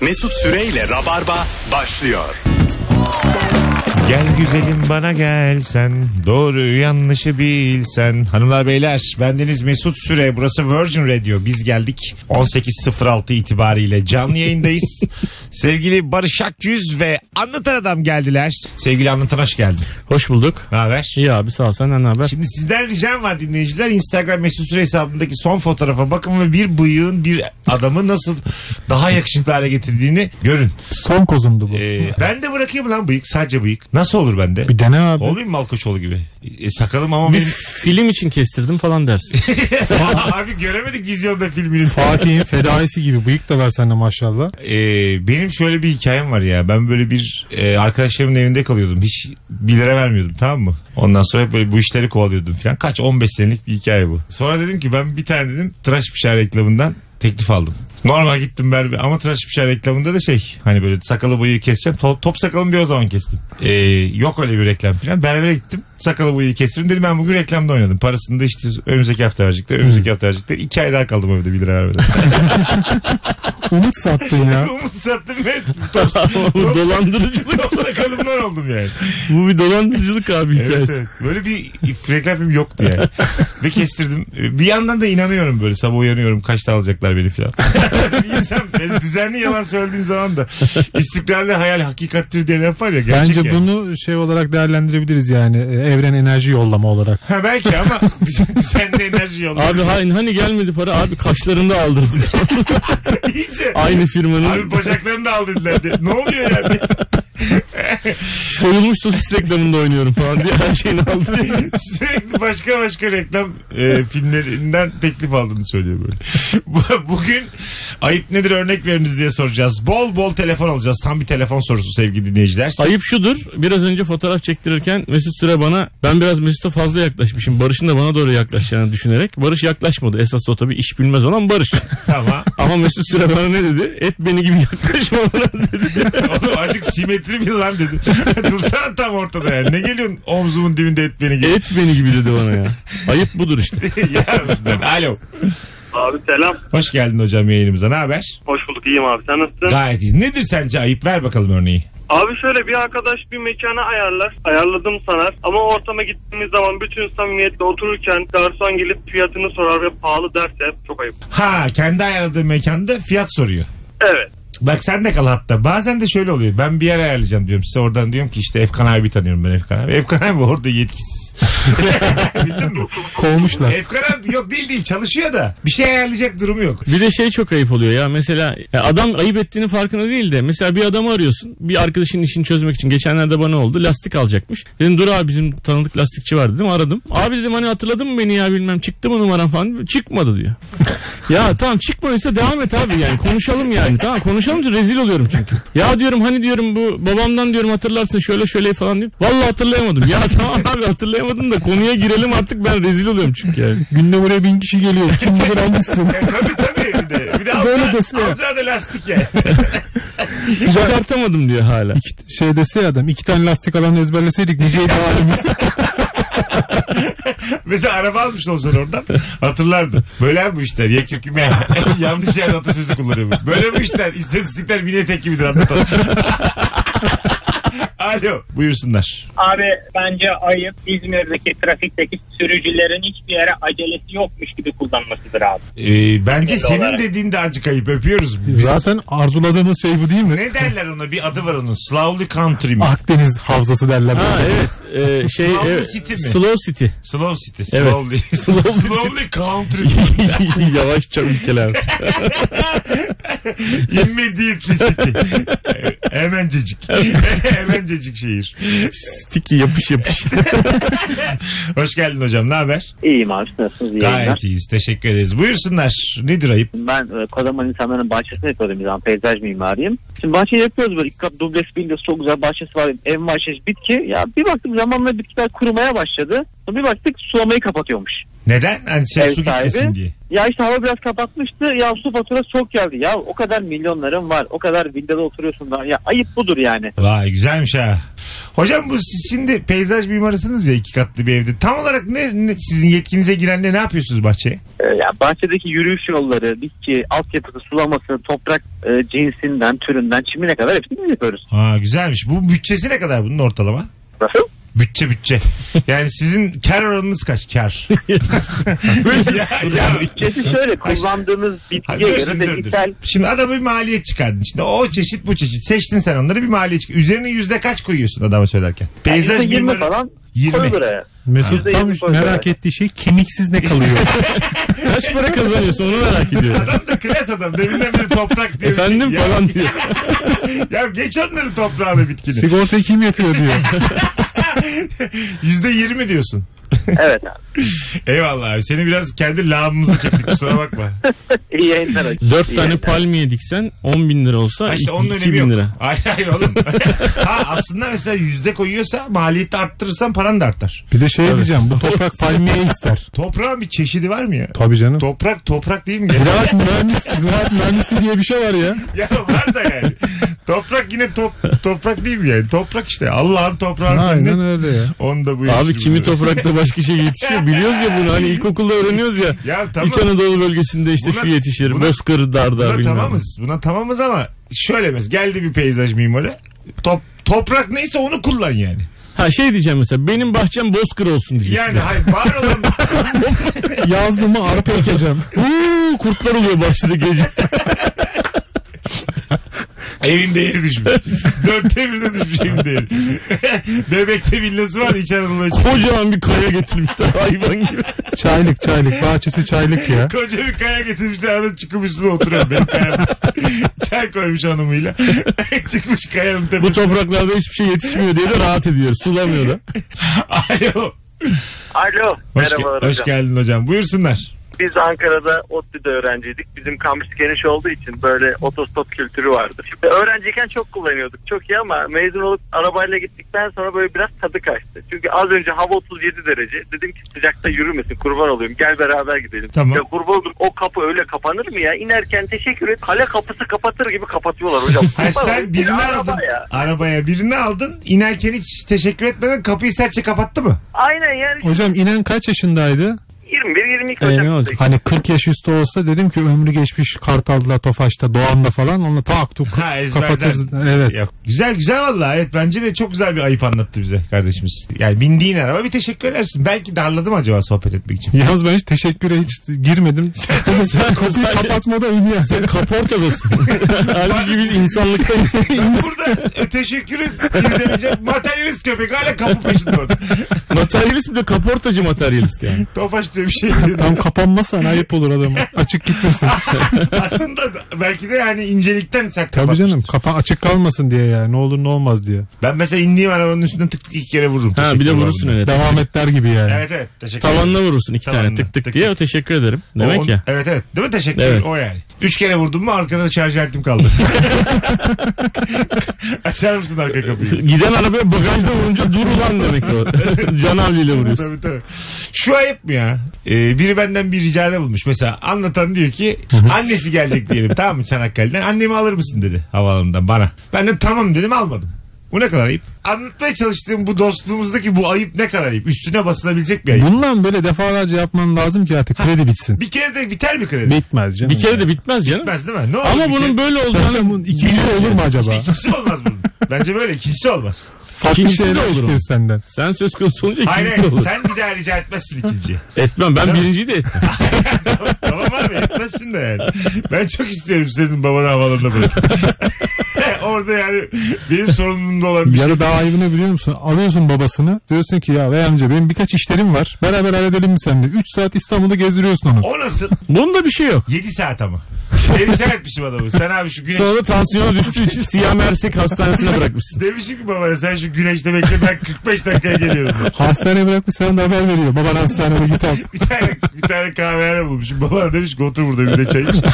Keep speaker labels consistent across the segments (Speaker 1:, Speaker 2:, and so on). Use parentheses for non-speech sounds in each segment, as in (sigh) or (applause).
Speaker 1: Mesut Süreyle Rabarba başlıyor.
Speaker 2: Gel güzelim bana gelsen doğru yanlışı bilsen hanımlar beyler bendeniz Mesut Süre burası Virgin Radio biz geldik 18.06 itibariyle canlı yayındayız sevgili Barış Akyüz ve Anlatan Adam geldiler sevgili Anlatan hoş geldin
Speaker 3: Hoş bulduk.
Speaker 2: ne haber?
Speaker 3: İyi abi sağ ol senden ne haber?
Speaker 2: Şimdi sizden ricam var dinleyiciler Instagram Mesut Süre hesabındaki son fotoğrafa bakın ve bir bıyığın bir adamı nasıl daha yakışıklı hale getirdiğini görün.
Speaker 3: Son kozumdu bu.
Speaker 2: Ee, ben de bırakayım lan bıyık sadece bıyık nasıl olur bende?
Speaker 3: bir dene abi.
Speaker 2: Olmayayım Malkoçoğlu gibi. E, sakalım ama
Speaker 3: bir
Speaker 2: benim...
Speaker 3: film için kestirdim falan
Speaker 4: (laughs)
Speaker 3: dersin.
Speaker 2: (laughs) Abi göremedik vizyonda filmini. (laughs)
Speaker 4: Fatih'in fedaisi gibi bıyık da versen de maşallah.
Speaker 2: Ee, benim şöyle bir hikayem var ya. Ben böyle bir e, arkadaşlarımın evinde kalıyordum. Hiç 1 lira vermiyordum tamam mı? Ondan sonra hep böyle bu işleri kovalıyordum falan. Kaç 15 senelik bir hikaye bu. Sonra dedim ki ben bir tane dedim tıraş bıçağı reklamından teklif aldım. Normal gittim ben ama tıraş bıçağı reklamında da şey hani böyle sakalı bıyığı keseceğim. Top, top sakalımı bir o zaman kestim. Ee, yok öyle bir reklam falan. Berbere gittim sakalı bıyığı kestirin dedim ben bugün reklamda oynadım. Parasını da işte önümüzdeki hafta verecekler önümüzdeki hafta verecekler. İki ay daha kaldım evde 1 lira vermeden.
Speaker 4: Umut sattın ya.
Speaker 2: Umut sattım ve top,
Speaker 3: bu
Speaker 2: top,
Speaker 3: dolandırıcılık.
Speaker 2: top sakalımdan oldum yani.
Speaker 3: bu bir dolandırıcılık abi
Speaker 2: Evet,
Speaker 3: hikayesi.
Speaker 2: evet. Böyle bir reklam film yoktu yani. ve kestirdim. Bir yandan da inanıyorum böyle sabah uyanıyorum kaçta alacaklar beni falan. (laughs) bir insan mesela düzenli yalan söylediğin zaman da istikrarlı hayal hakikattir diye laf var ya gerçek
Speaker 4: Bence
Speaker 2: yani.
Speaker 4: bunu şey olarak değerlendirebiliriz yani e, evren enerji yollama olarak.
Speaker 2: Ha belki ama düzenli enerji yolu.
Speaker 3: Abi hani, hani gelmedi para abi kaşlarını
Speaker 4: (laughs)
Speaker 3: aldırdım.
Speaker 2: İyice.
Speaker 3: Aynı firmanın
Speaker 2: Abi bacaklarını da al dediler diye. Ne oluyor yani?
Speaker 3: soyulmuş sosis reklamında oynuyorum falan diye her şeyini
Speaker 4: (laughs)
Speaker 3: aldı.
Speaker 2: (laughs) Sürekli başka başka reklam e, filmlerinden teklif aldığını söylüyor böyle. (laughs) Bu- Bugün ayıp nedir örnek veriniz diye soracağız. Bol bol telefon alacağız. Tam bir telefon sorusu sevgili dinleyiciler. (laughs)
Speaker 3: Ayıp şudur biraz önce fotoğraf çektirirken Mesut Süre bana ben biraz Mesut'a fazla yaklaşmışım. Barış'ın da bana doğru yaklaşacağını düşünerek Barış yaklaşmadı. Esas o tabii iş bilmez olan
Speaker 4: (laughs)
Speaker 3: Barış.
Speaker 2: Tamam.
Speaker 3: Ama Mesut Süre bana ne dedi? Et beni gibi yaklaşma bana (laughs) dedi.
Speaker 2: Oğlum azıcık simetri mi lan dedi. (laughs) Dursana tam ortada yani. Ne geliyorsun omzumun dibinde et beni
Speaker 3: (laughs)
Speaker 2: gibi.
Speaker 3: Et beni gibi dedi bana ya. Ayıp budur işte.
Speaker 2: (laughs) Yer misin? Alo.
Speaker 5: Abi selam.
Speaker 2: Hoş geldin hocam yayınımıza. Ne haber?
Speaker 5: Hoş bulduk. İyiyim abi. Sen nasılsın?
Speaker 2: Gayet iyiyiz. Nedir sence ayıp? Ver bakalım örneği.
Speaker 5: Abi şöyle bir arkadaş bir mekana ayarlar. Ayarladım sanar. Ama ortama gittiğimiz zaman bütün samimiyetle otururken garson gelip fiyatını sorar ve pahalı derse çok ayıp.
Speaker 2: Ha kendi ayarladığın mekanda fiyat soruyor.
Speaker 5: Evet.
Speaker 2: Bak sen de kal hatta. Bazen de şöyle oluyor. Ben bir yer ayarlayacağım diyorum size. Oradan diyorum ki işte Efkan abi tanıyorum ben Efkan abi. Efkan abi orada yetkisiz. (laughs) Bildin mi?
Speaker 4: Kovmuşlar.
Speaker 2: Efkan abi yok değil değil çalışıyor da. Bir şey ayarlayacak durumu yok.
Speaker 3: Bir de şey çok ayıp oluyor ya mesela ya adam ayıp ettiğinin farkında değil de mesela bir adamı arıyorsun bir arkadaşının işini çözmek için geçenlerde bana oldu lastik alacakmış. Dedim dur abi bizim tanıdık lastikçi var dedim aradım. Abi dedim hani hatırladın mı beni ya bilmem çıktı mı numaran falan çıkmadı diyor. ya tamam çıkmadıysa devam et abi yani konuşalım yani tamam konuşalım çünkü rezil oluyorum çünkü. Ya diyorum hani diyorum bu babamdan diyorum hatırlarsın şöyle şöyle falan diyor. Vallahi hatırlayamadım ya (laughs) tamam abi hatırlayamadım da konuya girelim artık ben rezil oluyorum çünkü yani. şey
Speaker 4: Günde buraya bin kişi (laughs) geliyor. Kim bilir almışsın.
Speaker 2: E, tabii tabii bir de. Bir de
Speaker 4: Böyle
Speaker 2: alacağı,
Speaker 4: desene.
Speaker 2: alacağı da lastik ya.
Speaker 3: Çıkartamadım diyor hala.
Speaker 4: İki, şey dese ya adam iki tane lastik alan ezberleseydik
Speaker 2: (laughs)
Speaker 4: niceydi halimiz.
Speaker 2: (laughs) Mesela araba almış olsan oradan hatırlardın. Böyle abi bu işler. Ye kürküme. (laughs) Yanlış yerde atasözü kullanıyor. bu. Böyle bu işler. İstatistikler mini etek gibidir anlatan. (laughs) Alo buyursunlar.
Speaker 6: Abi bence ayıp İzmir'deki trafikteki sürücülerin hiçbir yere acelesi yokmuş gibi kullanmasıdır abi.
Speaker 2: Ee, bence
Speaker 6: Genel
Speaker 2: senin
Speaker 6: olarak.
Speaker 2: dediğin de acık ayıp. Öpüyoruz. Biz-
Speaker 4: Zaten arzuladığımız şey bu değil mi?
Speaker 2: Ne derler ona? Bir adı var onun. Slowly Country
Speaker 3: Ah.
Speaker 2: mi?
Speaker 4: Akdeniz havzası derler.
Speaker 3: Ha
Speaker 4: buna.
Speaker 3: evet.
Speaker 4: e,
Speaker 3: Ee, şey
Speaker 2: Slow
Speaker 3: evet,
Speaker 2: City mi?
Speaker 3: Slow City.
Speaker 2: Slow City.
Speaker 3: Evet.
Speaker 2: Slowly.
Speaker 3: Slow City.
Speaker 2: slowly Country.
Speaker 3: (laughs) Yavaşça ülkeler.
Speaker 2: Immediately City. Hemencecik. (laughs) Hemencecik şehir.
Speaker 3: Tiki yapış yapış.
Speaker 2: Hoş geldin hocam. Ne haber?
Speaker 7: İyiyim abi siz nasılsınız? İyi yayınlar.
Speaker 2: Gayet iyiyiz. Teşekkür ederiz. Buyursunlar. Nedir ayıp?
Speaker 7: Ben e, kocaman insanların bahçesini yapıyordum bir zaman peyzaj mimariyim. Şimdi bahçeyi yapıyoruz böyle ilk kat dubleks villas çok güzel bahçesi var ev bahçesi bitki. Ya bir baktık zamanla bitkiler kurumaya başladı. Sonra Bir baktık sulamayı kapatıyormuş.
Speaker 2: Neden? Hani şey
Speaker 7: Ev
Speaker 2: su
Speaker 7: sahibi.
Speaker 2: gitmesin diye.
Speaker 7: Ya işte hava biraz kapatmıştı. Ya su faturası çok geldi. Ya o kadar milyonların var. O kadar villada oturuyorsun. Da. Ya ayıp budur yani.
Speaker 2: Vay güzelmiş ha. Hocam bu siz şimdi peyzaj mimarısınız ya iki katlı bir evde. Tam olarak ne, ne- sizin yetkinize giren ne, ne yapıyorsunuz bahçeye?
Speaker 7: Ee, ya bahçedeki yürüyüş yolları, bitki, altyapısı, sulaması, toprak e, cinsinden, türünden, çimine kadar hepsini biz yapıyoruz.
Speaker 2: Ha güzelmiş. Bu bütçesi ne kadar bunun ortalama?
Speaker 7: Nasıl?
Speaker 2: Bütçe bütçe. Yani sizin kar oranınız kaç kar? ya, ya.
Speaker 7: Bütçesi şöyle kullandığımız
Speaker 2: Ha,
Speaker 7: bitkiye
Speaker 2: dur
Speaker 7: göre
Speaker 2: şimdi, dur, dur.
Speaker 7: bitkisel
Speaker 2: Şimdi adama bir maliyet çıkardın. Şimdi o çeşit bu çeşit. Seçtin sen onları bir maliyet çık. Üzerine yüzde kaç koyuyorsun adama söylerken? Peyzaj
Speaker 7: yüzde yirmi
Speaker 2: mimarı-
Speaker 7: falan
Speaker 2: 20.
Speaker 7: koyulur aya.
Speaker 4: Mesut
Speaker 7: Ha.
Speaker 4: tam merak ettiği şey kemiksiz ne kalıyor?
Speaker 3: (laughs) Kaç para kazanıyorsun onu merak ediyorum.
Speaker 2: Adam da (laughs) klas adam. Deminden beri toprak diyor.
Speaker 3: Efendim
Speaker 2: ya,
Speaker 3: falan diyor.
Speaker 2: ya geç onların toprağını bitkini.
Speaker 4: Sigortayı kim yapıyor diyor.
Speaker 2: Yüzde yirmi diyorsun.
Speaker 7: Evet abi.
Speaker 2: Eyvallah abi. Seni biraz kendi lağımımıza çektik. Kusura bakma.
Speaker 7: İyi yayınlar. hocam. İyi
Speaker 3: Dört tane
Speaker 7: yayınlar.
Speaker 3: palmiye diksen 10 bin lira olsa
Speaker 2: Ha işte onun
Speaker 3: 2
Speaker 2: önemi
Speaker 3: bin
Speaker 2: yok.
Speaker 3: lira.
Speaker 2: Hayır hayır oğlum. (laughs) ha aslında mesela yüzde koyuyorsa maliyeti arttırırsan paran da artar.
Speaker 4: Bir de şey diyeceğim bu
Speaker 2: (laughs)
Speaker 4: toprak palmiye ister.
Speaker 2: Toprağın bir çeşidi var mı ya?
Speaker 4: Tabii canım.
Speaker 2: Toprak toprak değil mi? ya?
Speaker 4: Ziraat mühendis, ziraat mühendisi diye bir şey var ya.
Speaker 2: ya var da yani. toprak yine top, toprak değil mi yani? Toprak işte. Allah'ın toprağını
Speaker 4: Aynen
Speaker 2: Aynen.
Speaker 4: öyle ya.
Speaker 2: Onda bu
Speaker 3: Abi
Speaker 2: yetişim
Speaker 3: kimi
Speaker 2: bize.
Speaker 3: toprakta başka şey yetişiyor biliyoruz ya bunu hani ilkokulda öğreniyoruz ya.
Speaker 2: Ya tamam.
Speaker 3: İç Anadolu bölgesinde işte
Speaker 2: Buna-
Speaker 3: şu yetişir.
Speaker 2: buna-
Speaker 3: Bozkır, Dardar
Speaker 2: Buna
Speaker 3: bilmem. ne.
Speaker 2: tamamız. Buna tamamız ama şöyle mesela geldi bir peyzaj mimarı. Top, toprak neyse onu kullan yani.
Speaker 3: Ha şey diyeceğim mesela benim bahçem Bozkır olsun diyeceksin.
Speaker 2: Yani hayır var olan
Speaker 4: Yazdığımı arpa ekeceğim.
Speaker 3: (laughs) Uuu kurtlar oluyor başladı gece.
Speaker 2: evin değeri düşmüş. (laughs) Dörtte birde düşmüş evin değeri. (laughs) Bebekte villası var İç Anadolu'da.
Speaker 3: Kocaman bir kaya getirmişler hayvan gibi.
Speaker 4: Çaylık çaylık. Bahçesi çaylık ya.
Speaker 2: Koca bir kaya getirmişler arada çıkıp üstüne oturan benim kayam. (laughs) Çay koymuş hanımıyla. (laughs) Çıkmış kayanın
Speaker 3: Bu
Speaker 2: tepesine.
Speaker 3: topraklarda hiçbir şey yetişmiyor diye de rahat ediyor. Sulamıyor da.
Speaker 2: Alo.
Speaker 5: Alo.
Speaker 2: Hoş, ge-
Speaker 5: Merhabalar
Speaker 2: hoş
Speaker 5: hocam.
Speaker 2: geldin hocam. Buyursunlar.
Speaker 5: Biz Ankara'da ODTÜ'de öğrenciydik. Bizim kampüs geniş olduğu için böyle otostop kültürü vardı. Şimdi öğrenciyken çok kullanıyorduk. Çok iyi ama mezun olup arabayla gittikten sonra böyle biraz tadı kaçtı. Çünkü az önce hava 37 derece. Dedim ki sıcakta yürümesin kurban olayım gel beraber gidelim.
Speaker 2: Tamam.
Speaker 5: Ya kurban oldum o kapı öyle kapanır mı ya? İnerken teşekkür et. Kale kapısı kapatır gibi kapatıyorlar (laughs) hocam.
Speaker 2: Ha,
Speaker 5: Kurban olayım,
Speaker 2: sen birini
Speaker 5: bir araba
Speaker 2: aldın.
Speaker 5: ya.
Speaker 2: Arabaya birini aldın. İnerken hiç teşekkür etmeden kapıyı serçe kapattı mı?
Speaker 5: Aynen yani
Speaker 4: Hocam inen kaç yaşındaydı?
Speaker 5: 21-22
Speaker 3: Ee, ne
Speaker 5: hocam.
Speaker 3: olacak?
Speaker 4: Hani 40 yaş üstü olsa dedim ki ömrü geçmiş Kartal'da, Tofaş'ta, Doğan'da falan onunla tak tuk
Speaker 2: Ha, ezberden.
Speaker 4: kapatırız. Evet.
Speaker 2: Yok. Güzel güzel valla. Evet bence de çok güzel bir ayıp anlattı bize kardeşimiz. Yani bindiğin araba bir teşekkür edersin. Belki darladım acaba sohbet etmek için.
Speaker 4: Yalnız ben hiç teşekküre hiç
Speaker 2: (laughs)
Speaker 4: girmedim. Sen kapıyı kapatmada in ya.
Speaker 2: (laughs)
Speaker 3: Sen kaportalısın. Halbuki biz (laughs) insanlıktayız.
Speaker 2: Burada e, teşekkürü irdeleyecek materyalist köpek hala kapı peşinde orada.
Speaker 3: materyalist bir de kaportacı materyalist yani.
Speaker 2: Tofaş diye bir şey diyor.
Speaker 4: Tam kapanmasan ayıp olur adama. Açık gitmesin.
Speaker 2: Aslında da- belki de yani incelikten sert
Speaker 4: Tabii
Speaker 2: kapatmıştır.
Speaker 4: canım. Kapa açık kalmasın diye yani. Ne olur ne olmaz diye.
Speaker 2: Ben mesela indiğim arabanın üstüne tık tık iki kere vururum.
Speaker 3: Ha bir de
Speaker 2: Teşekkür
Speaker 3: vurursun
Speaker 2: ederim.
Speaker 3: evet.
Speaker 4: Devam etler gibi yani.
Speaker 2: Evet evet teşekkür ederim.
Speaker 3: Tavanına vurursun iki tane
Speaker 2: Tavanına,
Speaker 3: tık tık
Speaker 2: tık
Speaker 3: diye.
Speaker 2: tık.
Speaker 3: O teşekkür ederim.
Speaker 2: O-
Speaker 3: Demek ya.
Speaker 2: Evet evet. Değil mi? Teşekkür
Speaker 3: Evet.
Speaker 2: O yani. Üç kere vurdum mu arkada şarj aletim kaldı. (laughs) Açar mısın arka
Speaker 3: (laughs)
Speaker 2: kapıyı?
Speaker 3: Giden arabaya bagajda vurunca dur ulan demek (laughs) o. Can havliyle vuruyorsun.
Speaker 2: tabii tabii. Şu ayıp mı ya? Ee, biri benden bir ricada bulmuş. Mesela anlatan diyor ki annesi gelecek diyelim tamam mı Çanakkale'den. Annemi alır mısın dedi havaalanından bana. Ben de tamam dedim almadım. Bu ne kadar ayıp. Anlatmaya çalıştığım bu dostluğumuzdaki bu ayıp ne kadar ayıp. Üstüne basılabilecek bir ayıp.
Speaker 4: Bundan böyle defalarca yapman lazım ki artık kredi bitsin.
Speaker 2: Bir kere de biter mi kredi?
Speaker 4: Bitmez canım.
Speaker 3: Bir kere de bitmez canım.
Speaker 2: Bitmez değil mi? Ne olur
Speaker 3: Ama
Speaker 2: bir
Speaker 3: bunun
Speaker 2: kere-
Speaker 3: böyle
Speaker 4: Zaten
Speaker 3: olduğunu
Speaker 4: bunun ikincisi olur mu acaba?
Speaker 2: İkincisi olmaz bunun. Bence böyle ikincisi olmaz.
Speaker 4: Farklı
Speaker 3: İkincisi de
Speaker 4: şeyler
Speaker 3: olur
Speaker 4: istiyor
Speaker 3: mu?
Speaker 4: senden.
Speaker 3: sen söz konusu olunca
Speaker 2: Hayır
Speaker 3: ikincisi de
Speaker 2: hayır,
Speaker 3: olur.
Speaker 2: sen bir daha rica etmezsin ikinciyi.
Speaker 3: Etmem ben birinciyi de etmem.
Speaker 2: tamam abi etmezsin de yani. Ben çok istiyorum senin babanı havalarına bırak. (laughs) Orada yani benim sorunumda olan bir
Speaker 4: Ya
Speaker 2: şey.
Speaker 4: da daha ayıbı ne biliyor musun? Alıyorsun babasını. Diyorsun ki ya bey amca benim birkaç işlerim var. Beraber halledelim mi seninle? 3 saat İstanbul'da gezdiriyorsun onu.
Speaker 2: O nasıl?
Speaker 3: Bunda bir şey yok.
Speaker 2: 7 saat ama. Perişan etmişim adamı. Sen abi şu güneş...
Speaker 3: Sonra da tansiyonu düştüğü için Siyah Ersek Hastanesi'ne bırakmışsın.
Speaker 2: Demişim ki babana sen şu güneşte bekle ben 45 dakikaya geliyorum.
Speaker 4: Hastaneye bırakmış sana da haber veriyor. Baban hastanede git al.
Speaker 2: Bir tane, bir tane kahvehane bulmuşum. Babana demiş ki otur burada bir de çay iç.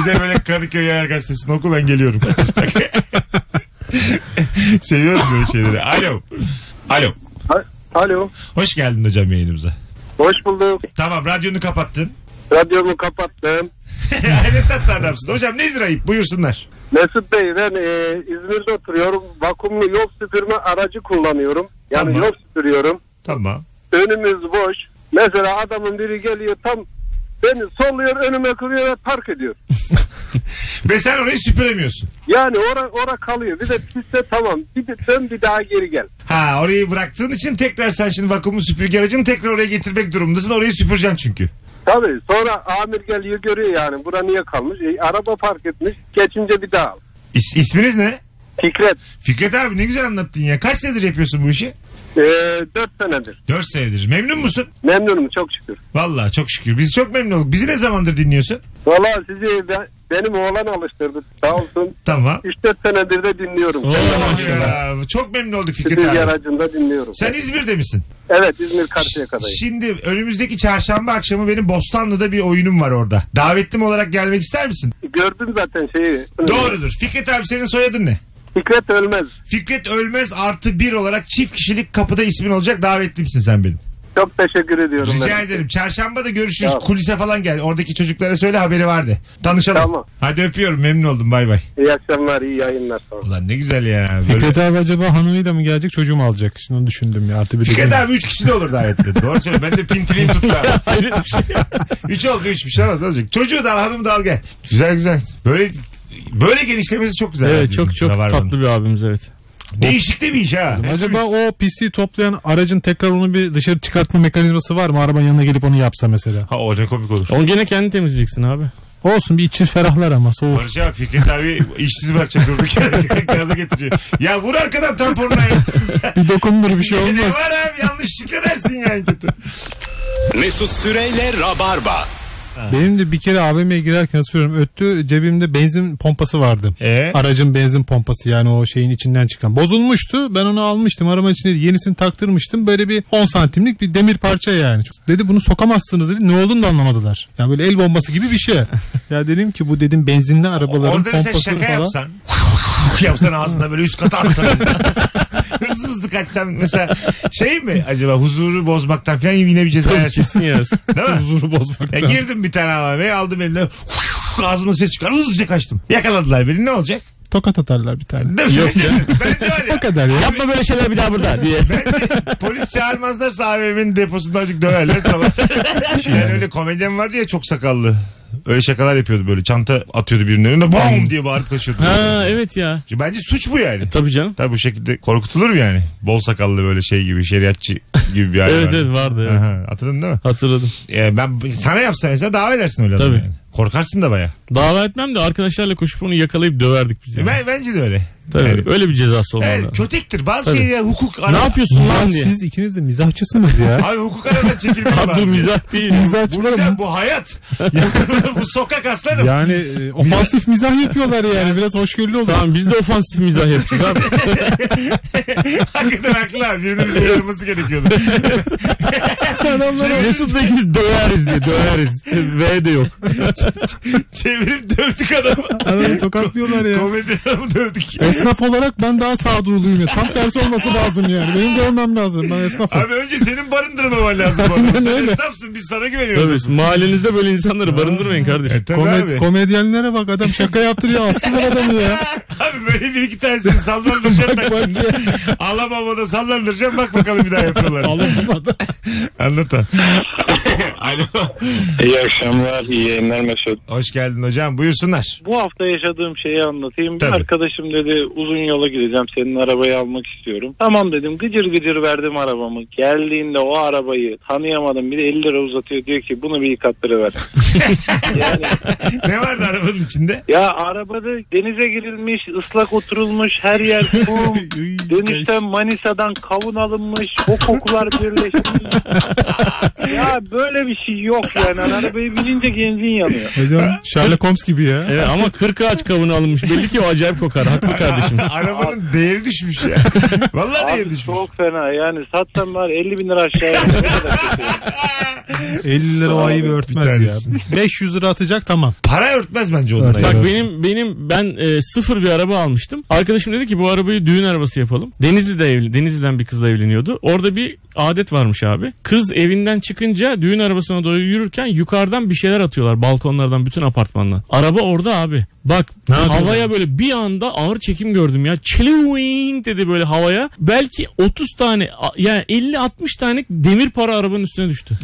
Speaker 2: Bir de böyle Kadıköy Yerel Gazetesi'ni oku ben geliyorum. (laughs) 45 dakika. Seviyorum böyle şeyleri. Alo. Alo.
Speaker 5: Alo.
Speaker 2: Hoş geldin hocam yayınımıza.
Speaker 5: Hoş bulduk.
Speaker 2: Tamam radyonu kapattın. (laughs)
Speaker 5: Radyomu kapattım.
Speaker 2: Hayret tatlı adamsın. Hocam nedir ayıp? Buyursunlar.
Speaker 5: Mesut Bey ben e, İzmir'de oturuyorum. Vakumlu yol süpürme aracı kullanıyorum. Yani
Speaker 2: Tamam.
Speaker 5: yol süpürüyorum.
Speaker 2: Tamam.
Speaker 5: Önümüz boş. Mesela adamın biri geliyor tam beni solluyor önüme kırıyor ve park ediyor.
Speaker 2: Ve sen orayı süpüremiyorsun.
Speaker 5: Yani ora, ora kalıyor. Bir de piste tamam. Bir de dön bir daha geri gel.
Speaker 2: Ha orayı bıraktığın için tekrar sen şimdi vakumlu süpürge aracını tekrar oraya getirmek durumundasın. Orayı süpüreceksin çünkü.
Speaker 5: Tabii sonra amir geliyor görüyor yani. Bura niye kalmış? E, araba park etmiş. Geçince bir daha al.
Speaker 2: İs, isminiz ne?
Speaker 5: Fikret.
Speaker 2: Fikret abi ne güzel anlattın ya. Kaç senedir yapıyorsun bu işi?
Speaker 5: E, 4 senedir.
Speaker 2: 4 senedir. Memnun musun?
Speaker 5: Memnunum çok şükür.
Speaker 2: Vallahi çok şükür. Biz çok memnun olduk. Bizi ne zamandır dinliyorsun?
Speaker 5: Valla sizi be- benim oğlan alıştırdı. Sağ olsun.
Speaker 2: Tamam.
Speaker 5: 3-4 senedir de dinliyorum.
Speaker 3: Oo, maşallah.
Speaker 2: Ya, çok memnun olduk Fikret
Speaker 5: Süpürge
Speaker 2: abi.
Speaker 5: aracında dinliyorum.
Speaker 2: Sen İzmir'de misin?
Speaker 5: Evet İzmir Karşıyaka'dayım.
Speaker 2: Şimdi önümüzdeki çarşamba akşamı benim Bostanlı'da bir oyunum var orada. Davetlim olarak gelmek ister misin?
Speaker 5: Gördüm zaten şeyi.
Speaker 2: Doğrudur. Fikret abi senin soyadın ne?
Speaker 5: Fikret ölmez.
Speaker 2: Fikret Ölmez artı bir olarak çift kişilik kapıda ismin olacak davetlimsin sen benim.
Speaker 5: Çok teşekkür ediyorum.
Speaker 2: Rica
Speaker 5: ben.
Speaker 2: ederim. Çarşamba da görüşürüz.
Speaker 5: Tamam.
Speaker 2: Kulise falan gel. Oradaki çocuklara söyle haberi vardı. Tanışalım.
Speaker 5: Tamam.
Speaker 2: Hadi öpüyorum. Memnun oldum. Bay bay.
Speaker 5: İyi akşamlar, iyi yayınlar. Tamam.
Speaker 2: Ulan ne güzel ya.
Speaker 4: (laughs)
Speaker 2: Böyle...
Speaker 4: Fikret abi acaba hanımıyla mı gelecek çocuğu mu alacak? Şimdi onu düşündüm ya. Artı bir
Speaker 2: Fikret
Speaker 4: de-
Speaker 2: abi 3 kişi de olur davetli. Doğru söylüyorum. Ben de pintiliğim tuttu.
Speaker 4: (laughs)
Speaker 3: Hayret bir şey.
Speaker 2: 3 oldu 3 bir şey olmaz. Azıcık. Çocuğu da al hanımı da al gel. Güzel güzel. Böyle böyle genişlemesi çok güzel.
Speaker 3: (laughs) Evet
Speaker 2: Radyonun,
Speaker 3: çok çok
Speaker 2: Rabarba'nın.
Speaker 3: tatlı bir abimiz evet.
Speaker 2: Değişik de bir iş ha.
Speaker 4: Acaba o pisi toplayan aracın tekrar onu bir dışarı çıkartma mekanizması var mı? Arabanın yanına gelip onu yapsa mesela.
Speaker 2: Ha o ne komik olur.
Speaker 3: Onu gene kendi temizleyeceksin abi.
Speaker 4: Olsun bir içi ferahlar ama soğuk.
Speaker 2: Barış abi Fikret abi işsiz bırakacak durduk yere. (laughs) Gaza getiriyor. Ya vur arkadan tamponuna ya.
Speaker 4: Bir dokundur (laughs) bir şey
Speaker 2: Ne
Speaker 4: olmaz.
Speaker 2: var abi yanlışlıkla dersin yani kötü.
Speaker 1: Mesut Süreyle Rabarba.
Speaker 4: Benim de bir kere AVM'ye girerken söylüyorum öttü cebimde benzin pompası vardı.
Speaker 2: Ee?
Speaker 4: Aracın benzin pompası yani o şeyin içinden çıkan. Bozulmuştu ben onu almıştım arabanın içinde yenisini taktırmıştım. Böyle bir 10 santimlik bir demir parça yani. Çok- Dedi bunu sokamazsınız dedi ne olduğunu da anlamadılar. Yani böyle el bombası gibi
Speaker 3: (laughs)
Speaker 4: bir şey. ya dedim ki bu dedim benzinli arabaların
Speaker 2: Orada mesela
Speaker 4: pompası
Speaker 2: şaka
Speaker 4: falan.
Speaker 2: yapsan. (laughs) yapsan ağzına böyle üst kata atsan. (laughs) hızlı hızlı kaçsan mesela şey mi acaba huzuru bozmaktan falan yine bir ceza yersin.
Speaker 3: Kesin yersin.
Speaker 2: (laughs) Değil mi?
Speaker 4: Huzuru
Speaker 2: Ya
Speaker 4: bozmaktan.
Speaker 2: girdim bir tane AVM'ye aldım eline (laughs) ağzıma ses çıkar hızlıca kaçtım. Yakaladılar beni ne olacak?
Speaker 4: Tokat atarlar bir tane.
Speaker 2: Değil mi?
Speaker 3: Yok ya.
Speaker 2: (laughs) Bence
Speaker 3: (laughs)
Speaker 2: var
Speaker 4: O
Speaker 2: ya.
Speaker 4: kadar ya.
Speaker 3: Yapma böyle şeyler bir daha burada diye.
Speaker 2: Bence polis çağırmazlarsa AVM'nin deposunda azıcık döverler sabah.
Speaker 3: (laughs) Şey
Speaker 2: yani öyle komedyen vardı ya çok sakallı. Öyle şakalar yapıyordu böyle. Çanta atıyordu birinin önüne. Bom diye bağırıp kaçıyordu.
Speaker 3: Ha evet ya.
Speaker 2: Bence suç bu yani.
Speaker 3: Tabii canım.
Speaker 2: Tabi bu şekilde korkutulur mu yani? Bol sakallı böyle şey gibi şeriatçı gibi
Speaker 3: (laughs)
Speaker 2: bir hali
Speaker 3: Evet
Speaker 2: vardı.
Speaker 3: evet vardı evet.
Speaker 2: Aha, hatırladın değil mi?
Speaker 3: Hatırladım.
Speaker 2: Ee, ben sana yapsam mesela dava edersin öyle adamı
Speaker 3: Tabii.
Speaker 2: yani. Korkarsın da baya.
Speaker 3: Dava etmem de arkadaşlarla koşup onu yakalayıp döverdik biz. yani.
Speaker 2: E, Ben, bence de öyle.
Speaker 3: Tabii
Speaker 2: Evet.
Speaker 3: öyle bir cezası olmalı.
Speaker 2: Evet, kötektir. Bazı
Speaker 3: Tabii.
Speaker 2: şeyler hukuk
Speaker 3: ne
Speaker 2: ara-
Speaker 3: yapıyorsun lan diye.
Speaker 4: Siz ikiniz de mizahçısınız ya.
Speaker 2: (laughs) Abi hukuk aradan
Speaker 3: (laughs)
Speaker 2: çekilmek
Speaker 3: Ha,
Speaker 2: var.
Speaker 3: bu (laughs) mizah değil.
Speaker 2: Bu
Speaker 4: Mizahçılar
Speaker 2: mizah, bu hayat. (laughs) bu sokak aslanım.
Speaker 4: Yani e, ofansif mizah yapıyorlar yani. Biraz hoşgörülü oldu.
Speaker 3: Tamam biz de ofansif mizah yapacağız
Speaker 4: (laughs)
Speaker 3: abi.
Speaker 2: Hakikaten haklı abi. Birinin
Speaker 3: (laughs)
Speaker 2: bizi uyarması gerekiyordu. (laughs) Çevirip-
Speaker 3: Mesut Bey gibi döveriz diye döveriz. V de yok.
Speaker 2: Çevirip dövdük adamı.
Speaker 4: Adamı tokatlıyorlar ya.
Speaker 2: Komedi adamı dövdük.
Speaker 4: Esnaf olarak ben daha sağduyuluyum ya. Tam tersi olması lazım yani. Benim görmem lazım. Ben esnafım.
Speaker 2: Abi önce senin barındırmaman lazım. bu adamı. Sen esnafsın biz sana
Speaker 3: Tabii
Speaker 2: güveniyoruz.
Speaker 3: mahallenizde böyle insanları barındırmayın kardeşim.
Speaker 2: E, tabii
Speaker 4: Komed-
Speaker 2: abi.
Speaker 4: komedyenlere bak adam şaka yaptırıyor astılar adamı ya.
Speaker 2: (laughs) Abi böyle bir iki tanesini sallandıracağım ben. Alamamada sallandıracağım bak bakalım bir daha yapıyorlar.
Speaker 4: Alamamadı.
Speaker 2: Anlat ha. Alo.
Speaker 8: İyi akşamlar, iyi yayınlar Mesut.
Speaker 2: Hoş geldin hocam buyursunlar.
Speaker 8: Bu hafta yaşadığım şeyi anlatayım.
Speaker 2: Tabii.
Speaker 8: Arkadaşım dedi uzun yola gideceğim senin arabayı almak istiyorum. Tamam dedim gıcır gıcır verdim arabamı. Geldiğinde o arabayı tanıyamadım bir de 50 lira uzatıyor diyor ki bunu bir yıkattırıver. yani
Speaker 2: ne vardı arabanın içinde?
Speaker 8: (laughs) ya arabada denize girilmiş ıslak oturulmuş her yer kum. Dönüşten Manisa'dan kavun alınmış o kokular
Speaker 7: (laughs)
Speaker 8: birleşmiş. ya böyle bir şey yok yani arabayı binince gencin yanıyor.
Speaker 4: Hocam Sherlock Holmes gibi ya.
Speaker 3: Evet ama 40 ağaç kavunu alınmış. Belli ki o acayip kokar. Haklı kardeşim.
Speaker 2: Arabanın değeri düşmüş ya. Vallahi değeri
Speaker 8: Abi
Speaker 2: düşmüş.
Speaker 8: çok fena yani satsam var 50 bin lira aşağıya. Ne kadar kötü.
Speaker 4: 50 lira o ayıbı örtmez ya.
Speaker 2: tanesini.
Speaker 4: 500 lira atacak tamam.
Speaker 2: Para örtmez bence onunla.
Speaker 4: Örtmez.
Speaker 2: ya.
Speaker 3: Bak
Speaker 4: Evet.
Speaker 3: benim benim ben e, sıfır bir araba almıştım. Arkadaşım dedi ki bu arabayı düğün arabası yapalım. Denizli'de evli, Denizli'den bir kızla evleniyordu. Orada bir adet varmış abi. Kız evinden çıkınca düğün arabasına doğru yürürken yukarıdan bir şeyler atıyorlar balkonlardan bütün apartmandan. Araba orada abi. Bak
Speaker 4: Ne yapıyor?
Speaker 3: havaya böyle bir anda ağır çekim gördüm ya. Çiliwin dedi böyle havaya. Belki 30 tane a- yani 50-60 tane demir para arabanın üstüne düştü.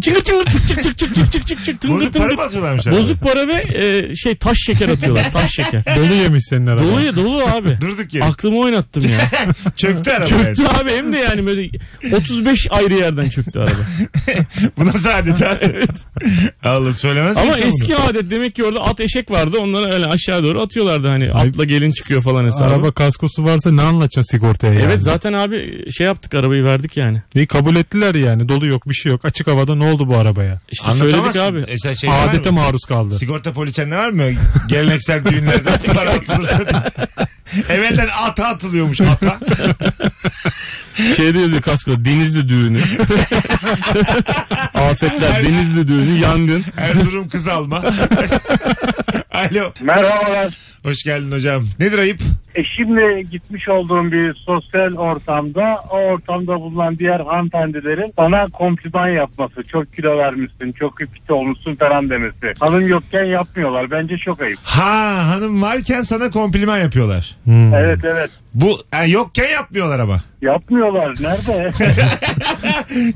Speaker 3: Çıkır çıkır tık çık çık çık çık çık çık çık tıngır
Speaker 2: Bozuk para
Speaker 3: tıngır.
Speaker 2: mı atıyorlarmış abi?
Speaker 3: Bozuk para ve e, şey taş şeker atıyorlar. (laughs) Taş şeker.
Speaker 4: Dolu yemiş senin araba.
Speaker 3: Dolu ya dolu abi.
Speaker 2: Durduk yere.
Speaker 3: Aklımı oynattım (laughs) ya.
Speaker 2: Çöktü araba
Speaker 3: Çöktü
Speaker 2: yani.
Speaker 3: abi hem de yani böyle 35 ayrı yerden çöktü (laughs) araba.
Speaker 2: Bu nasıl adet
Speaker 3: (laughs)
Speaker 2: abi? Allah söylemez
Speaker 3: Ama
Speaker 2: misin
Speaker 3: eski
Speaker 2: bunu?
Speaker 3: adet demek ki orada at eşek vardı. Onları öyle aşağı doğru atıyorlardı hani atla gelin çıkıyor falan hesabı.
Speaker 4: Araba kaskosu varsa ne anlatacaksın sigortaya yani?
Speaker 3: Evet zaten abi şey yaptık arabayı verdik yani.
Speaker 4: İyi, kabul ettiler yani. Dolu yok bir şey yok. Açık havada ne oldu bu arabaya?
Speaker 3: İşte söyledik
Speaker 2: Anlatamazsın.
Speaker 3: abi.
Speaker 2: Mesela şey var
Speaker 4: Adete
Speaker 2: mı?
Speaker 4: maruz
Speaker 3: (laughs)
Speaker 4: kaldı.
Speaker 2: Sigorta poliçende var mı? Geleneksel düğünlerde (laughs) para atılırsa. Evvelden ata atılıyormuş ata.
Speaker 3: Şeyde yazıyor Şey kasko denizli (laughs) düğünü. Afetler denizli düğünü yangın.
Speaker 2: Erzurum kız alma. (laughs) Alo.
Speaker 5: Merhabalar.
Speaker 2: Hoş geldin hocam. Nedir ayıp?
Speaker 5: Eşimle E, gitmiş olduğum bir sosyal ortamda o ortamda bulunan diğer hanımefendilerin bana kompliman yapması. Çok kilo vermişsin, çok ipit olmuşsun falan demesi. Hanım yokken yapmıyorlar. Bence çok ayıp.
Speaker 2: Ha hanım varken sana kompliman yapıyorlar.
Speaker 4: Hmm.
Speaker 5: Evet evet.
Speaker 2: Bu e, yokken yapmıyorlar ama.
Speaker 5: Yapmıyorlar. Nerede?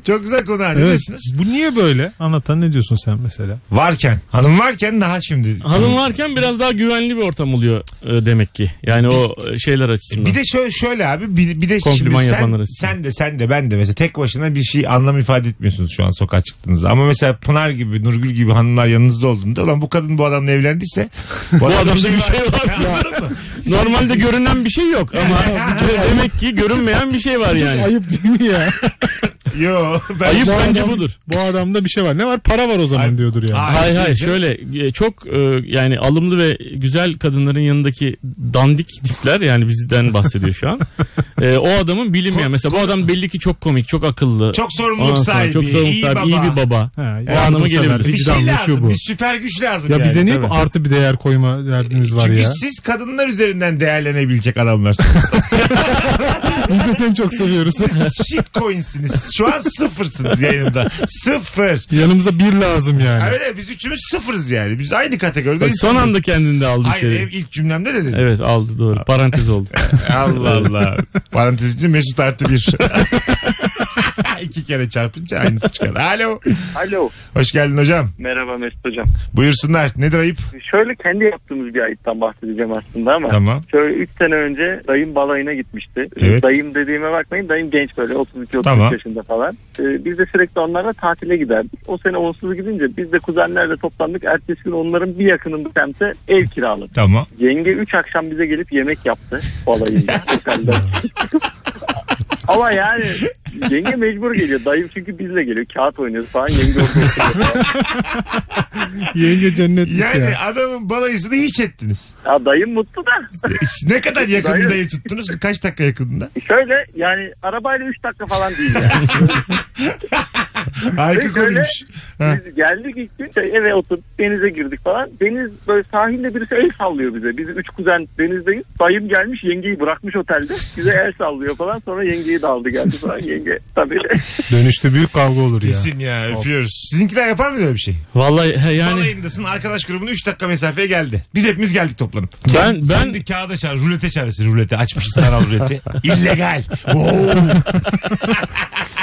Speaker 2: Çok güzel konu hani
Speaker 4: Evet.
Speaker 2: diyorsunuz.
Speaker 4: Bu niye böyle? Anlatan ne diyorsun sen mesela?
Speaker 2: Varken. Hanım varken daha şimdi.
Speaker 3: Hanım varken biraz daha güvenli bir ortam oluyor e, demek ki. Yani o e, şeyler açısından.
Speaker 2: Bir de şöyle, şöyle abi bir, bir de
Speaker 3: Kompliman
Speaker 2: şimdi
Speaker 3: yapanlar
Speaker 2: sen,
Speaker 3: için.
Speaker 2: sen de sen de ben de mesela tek başına bir şey anlam ifade etmiyorsunuz şu an sokağa çıktığınızda. Ama mesela Pınar gibi Nurgül gibi hanımlar yanınızda olduğunda ulan bu kadın bu adamla
Speaker 3: (laughs)
Speaker 2: evlendiyse bu
Speaker 3: adamda bir şey var.
Speaker 2: Anladın mı?
Speaker 3: (laughs) Normalde görünen bir şey yok ama
Speaker 2: (laughs)
Speaker 3: demek ki görünmeyen bir şey var yani.
Speaker 4: (laughs) Ayıp değil mi ya?
Speaker 3: (laughs)
Speaker 2: Yo. Ben
Speaker 3: Ayıp
Speaker 4: Bu
Speaker 3: bence
Speaker 4: adam-
Speaker 3: budur.
Speaker 4: (laughs) Bu adamda bir şey var. Ne var? Para var o zaman
Speaker 2: Ay-
Speaker 4: diyordur yani.
Speaker 2: Ay-
Speaker 3: Hayır hayır şöyle e, çok e, yani alımlı ve güzel kadınların yanındaki dandik tipler yani bizden bahsediyor şu
Speaker 2: (laughs)
Speaker 3: an. E, o adamın bilinmeyen mesela bu adam belli ki çok komik çok akıllı.
Speaker 2: Çok sorumluluk
Speaker 3: Ondan sonra
Speaker 2: sahibi.
Speaker 3: çok sorumluluk
Speaker 2: iyi
Speaker 3: sahibi, iyi
Speaker 2: baba.
Speaker 3: bir baba.
Speaker 4: Ha,
Speaker 3: O anlamı
Speaker 4: yardımsever,
Speaker 3: gelebilir.
Speaker 2: Bir şey
Speaker 4: vicdanlı,
Speaker 2: lazım.
Speaker 4: şu bu.
Speaker 2: Bir süper güç lazım
Speaker 4: Ya
Speaker 2: yani.
Speaker 4: bize niye
Speaker 3: tabii.
Speaker 4: bu artı bir değer koyma derdimiz var
Speaker 2: Çünkü (laughs)
Speaker 4: ya?
Speaker 2: siz kadınlar üzerinden değerlenebilecek adamlarsınız.
Speaker 3: (laughs)
Speaker 4: Biz de seni çok seviyoruz.
Speaker 2: Siz shitcoinsiniz. Şu an sıfırsınız yayında. Sıfır.
Speaker 4: (laughs) Yanımıza bir lazım yani.
Speaker 2: Öyle biz üçümüz sıfırız yani. Biz aynı
Speaker 3: Bak,
Speaker 2: kategorideyiz.
Speaker 3: son anda kendini de aldı
Speaker 2: Hayır
Speaker 3: içeri.
Speaker 2: ev ilk cümlemde de dedim.
Speaker 3: Evet aldı doğru parantez oldu.
Speaker 2: Allah Allah. Parantez içinde Mesut artı bir. (laughs) İki kere çarpınca aynısı çıkar. Alo.
Speaker 7: (laughs) Alo.
Speaker 2: Hoş geldin hocam.
Speaker 7: Merhaba Mesut Hocam.
Speaker 2: Buyursunlar. Nedir ayıp?
Speaker 7: Şöyle kendi yaptığımız bir ayıptan bahsedeceğim aslında ama.
Speaker 2: Tamam.
Speaker 7: Şöyle 3 sene önce dayım balayına gitmişti. Ee,
Speaker 2: Evet.
Speaker 7: Dayım dediğime bakmayın dayım genç böyle 32-33
Speaker 2: Tamam.
Speaker 7: yaşında falan. Ee, biz de sürekli onlarla tatile giderdik. O sene onsuz gidince biz de kuzenlerle toplandık. Ertesi gün onların bir yakınında semte ev kiraladık.
Speaker 2: Tamam.
Speaker 7: Yenge 3 akşam bize gelip yemek yaptı
Speaker 2: (laughs)
Speaker 7: balayında. otelde. Ama yani yenge mecbur geliyor. Dayım çünkü bizle geliyor. Kağıt oynuyoruz falan. Yenge orada oturuyor.
Speaker 4: Yenge cennetlik
Speaker 2: Yani
Speaker 4: ya.
Speaker 2: adamın balayısını hiç ettiniz.
Speaker 7: Ya dayım mutlu da.
Speaker 2: (laughs) Ne kadar yakınında
Speaker 7: Dayı-
Speaker 2: dayı tuttunuz? Kaç dakika yakınında?
Speaker 7: Şöyle yani arabayla 3 dakika falan
Speaker 9: (laughs)
Speaker 7: değil yani.
Speaker 2: Harika
Speaker 7: Ve
Speaker 2: konuymuş. Ha.
Speaker 7: Biz geldik ilk gün şey, eve oturduk denize girdik falan. Deniz böyle sahilde birisi el sallıyor bize. Biz üç kuzen denizdeyiz. Dayım gelmiş yengeyi bırakmış otelde. Bize el sallıyor falan. Sonra yengeyi de aldı geldi falan. Yenge tabii.
Speaker 4: Dönüşte büyük kavga olur ya.
Speaker 2: Kesin ya öpüyoruz. Sizinkiler yapar mı böyle bir şey?
Speaker 3: Vallahi he, yani
Speaker 2: Balayındasın arkadaş grubuna 3 dakika mesafeye geldi. Biz hepimiz geldik toplanıp.
Speaker 3: ben
Speaker 2: Ben
Speaker 3: ben
Speaker 2: de kağıda çağır. Rulete çağırıyorsun rulete. Açmışız sanal
Speaker 3: (laughs)
Speaker 2: ruleti. İllegal. Oo.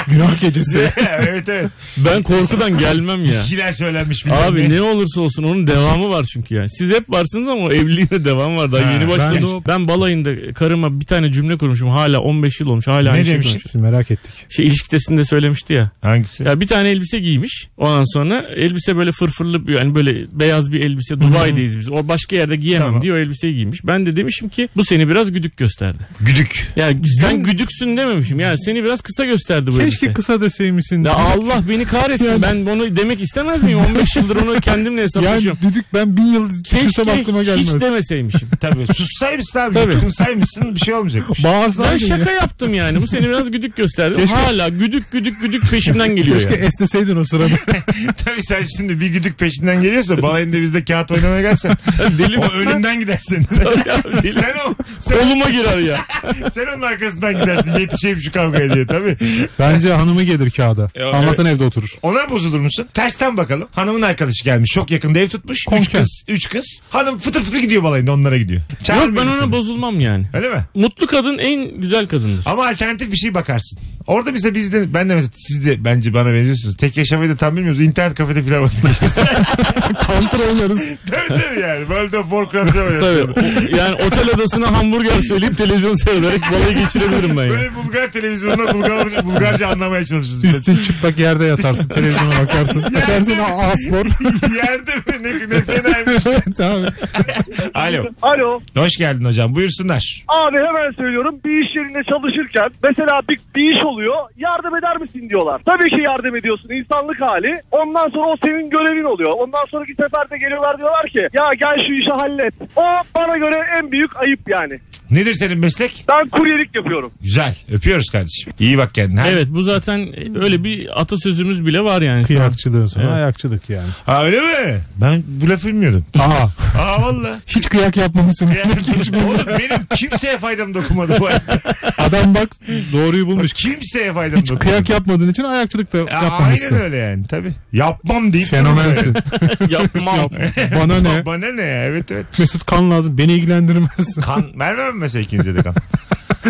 Speaker 4: Günah gecesi.
Speaker 2: (laughs) evet evet.
Speaker 3: (laughs) ben korkudan
Speaker 2: (laughs)
Speaker 3: gelmem ya.
Speaker 2: İskiler söylenmiş. bilmem
Speaker 3: Abi ne olursa olsun onun devamı var çünkü yani. Siz hep varsınız ama o evliliğine devam var. Daha
Speaker 2: Ha,
Speaker 3: yeni başladı
Speaker 2: ben-
Speaker 3: ben, o. Ben balayında karıma bir tane cümle kurmuşum. Hala 15 yıl olmuş. Hala
Speaker 2: Ne
Speaker 3: aynı şey
Speaker 2: demiştin?
Speaker 3: konuşuyor.
Speaker 4: Şimdi merak ettik.
Speaker 3: Şey ilişkidesinde söylemişti ya.
Speaker 2: Hangisi?
Speaker 3: Ya bir tane elbise giymiş. Ondan sonra elbise böyle fırfırlı bir yani böyle beyaz bir elbise. Dubai'deyiz biz. O başka yerde giyemem
Speaker 2: Tamam.
Speaker 3: diye o elbiseyi giymiş. Ben de demişim ki bu seni biraz güdük gösterdi.
Speaker 2: Güdük.
Speaker 3: Ya sen güdüksün dememişim. Yani seni biraz kısa gösterdi bu
Speaker 4: Keşke kısa deseymişsin.
Speaker 3: Ya Allah beni kahretsin. Ben bunu demek istemez miyim? 15 yıldır onu kendimle hesaplaşıyorum.
Speaker 4: yani düdük ben bin yıl düşünsem
Speaker 3: Keşke
Speaker 4: aklıma gelmez.
Speaker 3: hiç demeseymişim.
Speaker 2: Tabii sussaymışsın abi.
Speaker 3: Tabii.
Speaker 2: Kımsaymışsın bir şey
Speaker 3: (laughs)
Speaker 2: olmayacakmış.
Speaker 3: Ben
Speaker 4: Bağırsaydın ya.
Speaker 3: şaka yaptım yani. Bu seni biraz güdük gösterdi.
Speaker 4: Keşke-
Speaker 3: Hala güdük güdük güdük peşimden geliyor
Speaker 4: Keşke (laughs)
Speaker 3: yani.
Speaker 4: esneseydin o sırada.
Speaker 2: Tabii sen şimdi bir güdük peşinden geliyorsa balayında bizde kağıt oynamaya gelsen.
Speaker 3: (laughs) Sen deli
Speaker 2: o
Speaker 3: misin?
Speaker 2: önünden gidersin. (laughs)
Speaker 4: (laughs)
Speaker 3: Ya deli-
Speaker 2: sen, o, sen,
Speaker 3: Koluma girer ya.
Speaker 2: sen onun arkasından gidersin. Yetişeyim şu kavgaya diye tabii.
Speaker 4: Bence hanımı gelir kağıda.
Speaker 2: Ya,
Speaker 4: Anlatan evde oturur.
Speaker 2: Ona bozulur musun? Tersten bakalım. Hanımın arkadaşı gelmiş. Çok yakında ev tutmuş. Üç
Speaker 4: Komşu.
Speaker 2: kız. Üç kız. Hanım fıtır fıtır gidiyor balayında onlara gidiyor.
Speaker 3: Yok
Speaker 2: Çağırmayın
Speaker 3: ben ona
Speaker 2: seni.
Speaker 3: bozulmam yani.
Speaker 2: Öyle mi?
Speaker 3: Mutlu kadın en güzel kadındır.
Speaker 2: Ama alternatif bir şey bakarsın. Orada mesela biz de ben de mesela siz de bence bana benziyorsunuz. Tek yaşamayı da tam bilmiyoruz. İnternet kafede filan vakit geçtiniz.
Speaker 4: Counter oynarız.
Speaker 2: tabii tabii yani. World of Warcraft'a
Speaker 3: Tabii.
Speaker 2: oynuyorsunuz.
Speaker 3: o- yani otel odasına hamburger söyleyip televizyon seyrederek balayı geçirebilirim ben ya.
Speaker 2: Böyle Bulgar televizyonunda Bulgar, Bulgarca anlamaya çalışırız.
Speaker 4: Üstün çıplak yerde yatarsın. Televizyona bakarsın. Açarsın a- (laughs) aspor.
Speaker 2: Yerde mi? Ne, ne fenaymış.
Speaker 4: evet abi.
Speaker 2: Alo.
Speaker 10: Alo.
Speaker 2: Hoş geldin hocam. Buyursunlar.
Speaker 10: Abi hemen söylüyorum bir iş yerinde çalışırken mesela bir, bir iş oluyor yardım eder misin diyorlar. Tabii ki yardım ediyorsun insanlık hali. Ondan sonra o senin görevin oluyor. Ondan sonraki seferde geliyorlar diyorlar ki ya gel şu işi hallet. O bana göre en büyük ayıp yani.
Speaker 2: Nedir senin meslek?
Speaker 10: Ben kuryelik yapıyorum.
Speaker 2: Güzel. Öpüyoruz kardeşim. İyi bak kendine. Hadi.
Speaker 3: Evet bu zaten öyle bir atasözümüz bile var yani. şu an.
Speaker 4: (laughs) Kıyakçılığın sonu
Speaker 3: Evet.
Speaker 4: ayakçılık yani.
Speaker 2: Ha öyle mi? Ben bu lafı bilmiyordum.
Speaker 4: Aha.
Speaker 2: Aa valla.
Speaker 4: Hiç kıyak yapmamışsın.
Speaker 2: (laughs) Yani, oğlum benim kimseye faydam dokunmadı bu hayatta.
Speaker 4: Adam bak doğruyu bulmuş.
Speaker 2: Kimseye faydam
Speaker 4: Hiç
Speaker 2: dokunmadı.
Speaker 4: kıyak yapmadığın için ayakçılık da
Speaker 2: Aa, Aynen
Speaker 4: yapmamışsın.
Speaker 2: öyle yani tabii. Yapmam deyip. (laughs)
Speaker 4: Fenomensin.
Speaker 3: Yapmam.
Speaker 4: Bana ne?
Speaker 2: Ba- Bana ne ya evet evet.
Speaker 4: Mesut kan lazım. Beni ilgilendirmez. (laughs)
Speaker 2: Kan vermem mi mesela ikinize de kan.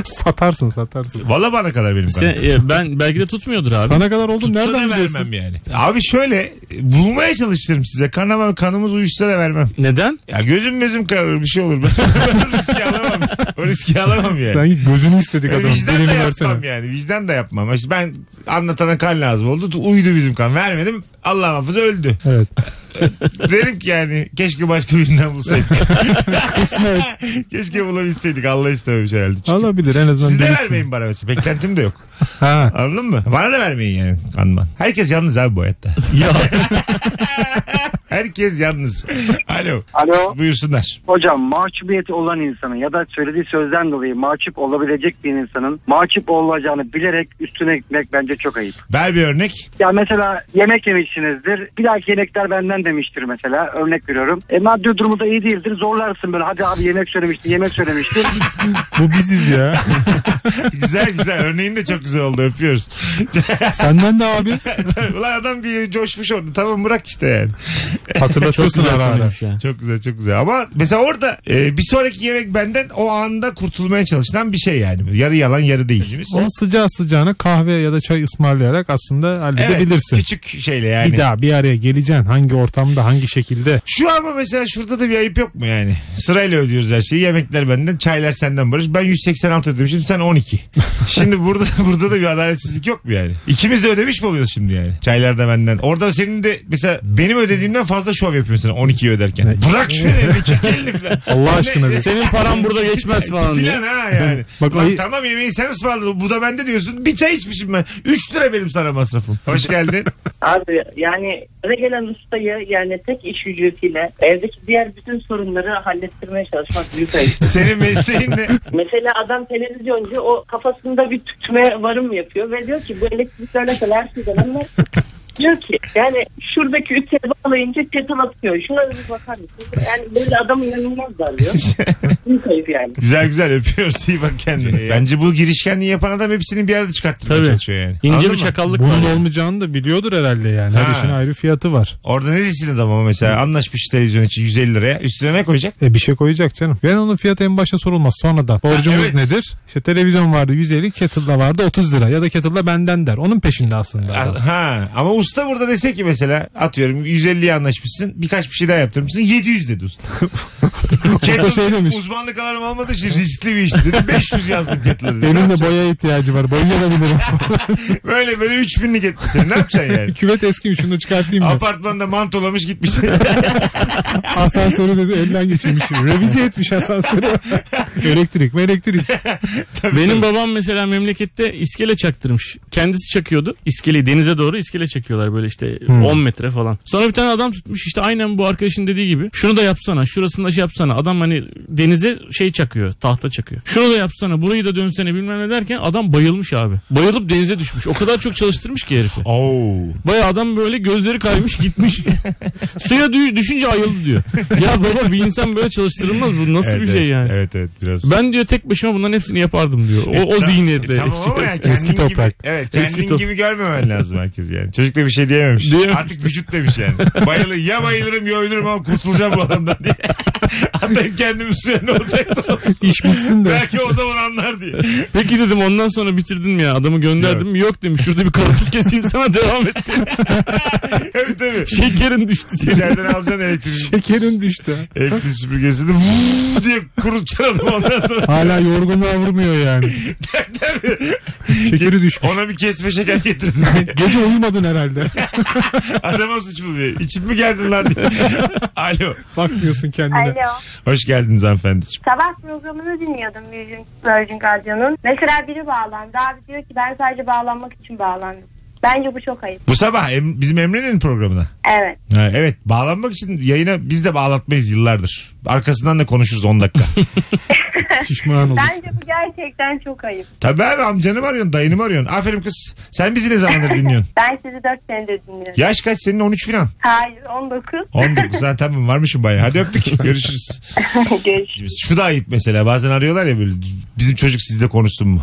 Speaker 4: satarsın satarsın.
Speaker 2: Valla bana kadar benim
Speaker 3: Sen,
Speaker 2: kanım.
Speaker 3: e, ben belki de tutmuyordur abi.
Speaker 4: Sana kadar oldum.
Speaker 2: Sana
Speaker 4: Nereden biliyorsun?
Speaker 2: vermem yani. Abi şöyle e, bulmaya çalışırım size. Kan ama kanımız uyuşsa da vermem.
Speaker 3: Neden?
Speaker 2: Ya gözüm gözüm kararır bir şey olur. Ben (laughs) o riski alamam. O riski alamam yani.
Speaker 4: Sen gözünü istedik
Speaker 2: E,
Speaker 4: adam.
Speaker 2: vicdan da
Speaker 4: Dilini versene.
Speaker 2: yapmam yani. Vicdan da yapmam. İşte ben anlatana kan lazım oldu. Uyudu bizim kan. Vermedim. Allah muhafaza öldü. (laughs)
Speaker 4: Evet.
Speaker 2: Derim ki yani keşke başka birinden bulsaydık. (laughs)
Speaker 4: Kısmet.
Speaker 2: keşke bulabilseydik. Allah istememiş herhalde. Çünkü
Speaker 4: Allah bilir en azından
Speaker 2: Siz de
Speaker 4: bilirsin.
Speaker 2: vermeyin bana mesela. Beklentim de yok.
Speaker 4: Ha.
Speaker 2: Anladın mı? Bana da vermeyin yani kanman. Herkes yalnız abi bu hayatta.
Speaker 3: Ya
Speaker 2: (laughs) Herkes yalnız. Alo.
Speaker 9: (laughs) Alo.
Speaker 2: Buyursunlar.
Speaker 9: Hocam mahcubiyeti olan insanın ya da söylediği sözden dolayı mahcup olabilecek bir insanın mahcup olacağını bilerek üstüne gitmek bence çok ayıp.
Speaker 2: Ver bir örnek.
Speaker 9: Ya mesela yemek yemişsinizdir. Bir dahaki yemekler benden demiştir mesela. Örnek veriyorum. E maddi durumu da iyi değildir. Zorlarsın böyle. Hadi abi yemek söylemişti, yemek söylemişti.
Speaker 4: Bu biziz ya.
Speaker 2: Güzel güzel. Örneğin de çok güzel oldu. Öpüyoruz. (laughs)
Speaker 4: Senden de abi.
Speaker 2: Ulan adam bir coşmuş orada. Tamam bırak işte yani.
Speaker 3: çok
Speaker 4: Hatırlatıyorsun
Speaker 3: güzel
Speaker 4: ara ara.
Speaker 3: konuymuş ya.
Speaker 2: Çok güzel çok güzel. Ama mesela orada e, bir sonraki yemek benden o anda kurtulmaya çalışılan bir şey yani. Yarı yalan yarı değil. değil mi?
Speaker 4: O sıcağı sıcağına kahve ya da çay ısmarlayarak aslında halledebilirsin.
Speaker 2: Küçük şeyle yani.
Speaker 4: Bir daha bir araya geleceksin. Hangi ortamda hangi şekilde.
Speaker 2: Şu ama mesela şurada da bir ayıp yok mu yani? Sırayla ödüyoruz her şeyi. Yemekler benden, çaylar senden Barış. Ben 186 ödemişim, sen
Speaker 3: (laughs)
Speaker 2: 12. şimdi burada burada da bir adaletsizlik yok mu yani? İkimiz de ödemiş mi oluyoruz şimdi yani? Çaylar da benden. Orada senin de mesela benim ödediğimden fazla şov yapıyorsun 12'yi öderken. Bırak şu ödevi, çek elini falan.
Speaker 4: Allah aşkına bir.
Speaker 3: Senin paran burada geçmez falan diye.
Speaker 2: Filan ha (laughs) yani.
Speaker 4: Bak
Speaker 2: Lan
Speaker 4: ayı-
Speaker 2: tamam yemeği sen ısmarladın. Bu da bende diyorsun. Bir çay içmişim ben. 3 lira benim sana masrafım. Hoş geldin.
Speaker 11: (laughs) Abi yani eve gelen ustayı yani tek iş ücretiyle evdeki diğer bütün sorunları hallettirmeye çalışmak büyük ayıp.
Speaker 2: (laughs) Senin mesleğin ne?
Speaker 11: Mesela adam televizyoncu o kafasında bir tütme varım yapıyor ve diyor ki bu elektrikle alakalı her şeyden anlar. (laughs) Diyor ki yani şuradaki ütüye bağlayınca ketel atıyor. Şuna bir bakar mısın? Yani böyle adam
Speaker 2: (laughs)
Speaker 11: inanılmaz darlıyor. Büyük ayıp yani.
Speaker 2: (laughs) Güzel güzel öpüyoruz. İyi bak kendine. Bence bu girişkenliği yapan adam hepsini bir arada çıkarttırmaya
Speaker 3: Tabii.
Speaker 2: çalışıyor yani.
Speaker 3: İnce
Speaker 2: Anladın
Speaker 3: bir
Speaker 2: mı?
Speaker 3: çakallık var.
Speaker 4: Bunun
Speaker 3: yani.
Speaker 4: olmayacağını da biliyordur herhalde yani.
Speaker 2: Ha.
Speaker 4: Her işin ayrı fiyatı var.
Speaker 2: Orada ne desin adam ama mesela anlaşmış televizyon için 150 liraya üstüne ne koyacak?
Speaker 4: E bir şey koyacak canım. Yani onun fiyatı en başta sorulmaz. Sonradan. Borcumuz
Speaker 2: evet.
Speaker 4: nedir? İşte televizyon vardı 150, kettle'da vardı 30 lira. Ya da kettle'da benden der. Onun peşinde aslında. adam.
Speaker 2: Ah, Ha ama usta burada dese ki mesela atıyorum 150'ye anlaşmışsın birkaç bir şey daha yaptırmışsın 700 dedi
Speaker 4: (laughs)
Speaker 2: usta. Kettle'da
Speaker 4: şey demiş.
Speaker 2: Uzmanlık alanım almadığı için riskli bir işti dedi. 500 yazdım kettle'a dedi.
Speaker 4: Benim de boya ihtiyacı
Speaker 2: (laughs)
Speaker 4: var. Boyayabilirim.
Speaker 2: Böyle böyle 3000'lik etti seni. Ne yapacaksın yani?
Speaker 4: Küvet eski şunu da çıkartayım mı?
Speaker 2: Apartmanda mantolamış
Speaker 4: (laughs)
Speaker 2: gitmiş.
Speaker 4: Asansörü dedi elden geçirmiş. Revize etmiş asansörü. elektrik mi elektrik.
Speaker 3: Benim babam mesela memlekette iskele çaktırmış. Kendisi çakıyordu. İskeleyi denize doğru iskele çakıyorlar böyle işte
Speaker 4: Hmm.
Speaker 3: 10 metre falan. Sonra bir tane adam tutmuş işte aynen bu arkadaşın dediği gibi. Şunu da yapsana şurasını da şey yapsana. Adam hani denize şey çakıyor tahta çakıyor. Şunu da yapsana burayı da dönsene bilmem ne derken adam bayılmış abi. Bayılıp denize düşmüş. O kadar çok çalıştırmış ki herifi.
Speaker 2: Oo.
Speaker 3: Baya adam böyle gözleri kaymış
Speaker 2: (laughs)
Speaker 3: gitmiş. Suya dü- düşünce ayıldı diyor. Ya baba bir insan böyle çalıştırılmaz bu nasıl
Speaker 2: Evet,
Speaker 3: bir şey
Speaker 2: evet.
Speaker 3: yani.
Speaker 2: Evet evet biraz.
Speaker 3: Ben diyor tek başıma bunların hepsini yapardım diyor. O,
Speaker 2: E,
Speaker 3: o
Speaker 2: tam-
Speaker 3: zihniyetle.
Speaker 2: e, Tamam ama yani kendin (laughs)
Speaker 4: Eski toprak.
Speaker 2: Gibi, evet
Speaker 3: Eski
Speaker 2: kendin
Speaker 3: top-
Speaker 2: gibi görmemen lazım herkes yani. Çocuk da bir şey diyememiş.
Speaker 3: Diyememiş.
Speaker 2: Artık vücut demiş yani. Bayılır, ya bayılırım ya ölürüm ama kurtulacağım bu adamdan
Speaker 3: (laughs)
Speaker 2: diye. Hatta kendimi suya ne olacaksa olsun.
Speaker 4: İş bitsin de.
Speaker 2: Belki o zaman anlar diye.
Speaker 3: Peki dedim ondan sonra bitirdin mi ya? Adamı gönderdim mi? Yok demiş. Şurada bir karpuz keseyim sana
Speaker 2: (laughs)
Speaker 3: devam et. dedim.
Speaker 2: Evet tabii.
Speaker 3: Şey- Şekerin düştü senin.
Speaker 2: İçeriden alacaksın elektrik.
Speaker 4: Şekerin düştü.
Speaker 2: Elektrik süpürgesini vuuu diye kurutacaksın adamı ondan sonra.
Speaker 4: Hala yorgunluğa vurmuyor yani. Şekeri düşmüş.
Speaker 2: Ona bir kesme şeker getirdin.
Speaker 4: Gece uyumadın herhalde.
Speaker 2: Adama suç buluyor. İçip mi geldin lan
Speaker 3: (laughs)
Speaker 2: diye. Alo.
Speaker 4: Bakmıyorsun kendine.
Speaker 11: Alo.
Speaker 2: Hoş geldiniz hanımefendiciğim.
Speaker 11: Sabah programını dinliyordum Virgin Virgin Radyo'nun. Mesela biri bağlandı. Abi diyor ki ben sadece bağlanmak için bağlandım. Bence bu çok ayıp.
Speaker 2: Bu sabah em- bizim Emre'nin programına.
Speaker 11: Evet.
Speaker 2: Ha, evet bağlanmak için yayına biz de bağlatmayız yıllardır. Arkasından da konuşuruz 10 dakika.
Speaker 4: Pişman olur.
Speaker 11: Bence bu gerçekten çok ayıp.
Speaker 2: Tabii abi amcanı mı arıyorsun dayını mı arıyorsun? Aferin kız sen bizi ne zamandır dinliyorsun?
Speaker 11: Ben sizi 4 senedir dinliyorum.
Speaker 2: Yaş kaç senin 13 falan?
Speaker 11: Hayır 19.
Speaker 2: 19 ha tamam varmışım bayağı. Hadi öptük görüşürüz.
Speaker 11: (laughs) Görüşürüz.
Speaker 2: Şu da ayıp mesela bazen arıyorlar ya böyle bizim çocuk sizle konuşsun mu?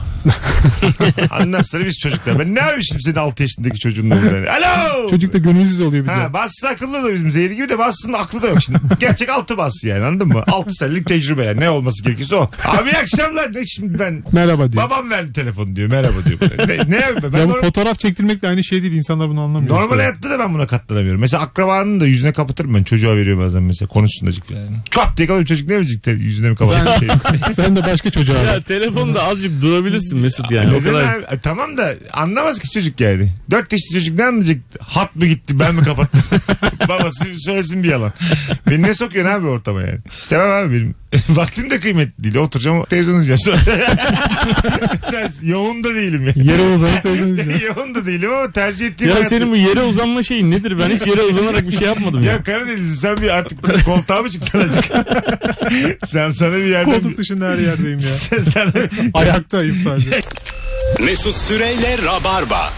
Speaker 2: Anlarsana biz çocuklar. Ben ne yapmışım senin 6 yaşındaki çocuğunla burada? yani? Alo!
Speaker 4: Çocuk da gönülsüz oluyor bir de.
Speaker 2: Ha, bassı akıllı da bizim zehri gibi de bassının aklı da yok
Speaker 4: (laughs)
Speaker 2: şimdi. Gerçek altı bas yani anladın mı? Altı senelik tecrübe yani ne olması gerekirse o. Abi iyi akşamlar ne şimdi
Speaker 4: (laughs)
Speaker 2: ben
Speaker 4: Merhaba diyor.
Speaker 2: babam verdi telefonu diyor merhaba diyor. Ne, ne yapayım ben
Speaker 4: ya bu
Speaker 2: normal,
Speaker 4: fotoğraf çektirmekle aynı şey değil. İnsanlar bunu anlamıyor.
Speaker 2: normal
Speaker 4: işte.
Speaker 2: hayatta da ben buna katlanamıyorum. Mesela akrabanın da yüzüne kapatırım ben çocuğa veriyorum bazen mesela konuşsun da cık yani. Çat diye kalıyorum çocuk ne bilecek te- yüzüne mi kapatır? Şey-
Speaker 4: Sen de başka çocuğa
Speaker 3: Ya
Speaker 4: bak.
Speaker 3: telefonda azıcık durabilirsin Mesut yani. o
Speaker 2: Neden
Speaker 3: kadar.
Speaker 2: abi? E, Tamam da anlamaz ki çocuk yani. Dört yaşlı çocuk ne anlayacak? Hat mı gitti ben mi kapattım? (laughs) Babası söylesin bir yalan. Beni ne sokuyorsun abi ortama yani? İstemem abi benim. (laughs) Vaktim de kıymetli değil. Oturacağım televizyon izleyeceğim. (laughs) Sen yoğun da değilim yani.
Speaker 4: Yere uzanıp televizyon
Speaker 2: (laughs)
Speaker 4: izliyor.
Speaker 2: yoğun da değilim ama tercih ettiğim
Speaker 3: Ya
Speaker 2: hayat-
Speaker 3: senin bu yere uzanma şeyin nedir? Ben hiç yere uzanarak bir şey yapmadım ya.
Speaker 2: Ya Karadenizli sen bir artık koltuğa mı çıksan azıcık? (laughs) sen sana bir yerden...
Speaker 4: Koltuk dışında her
Speaker 2: (laughs)
Speaker 4: yerdeyim ya.
Speaker 2: Sen sana...
Speaker 4: şey Ayaktayım sadece.
Speaker 1: Mesut Süreyle Rabarba.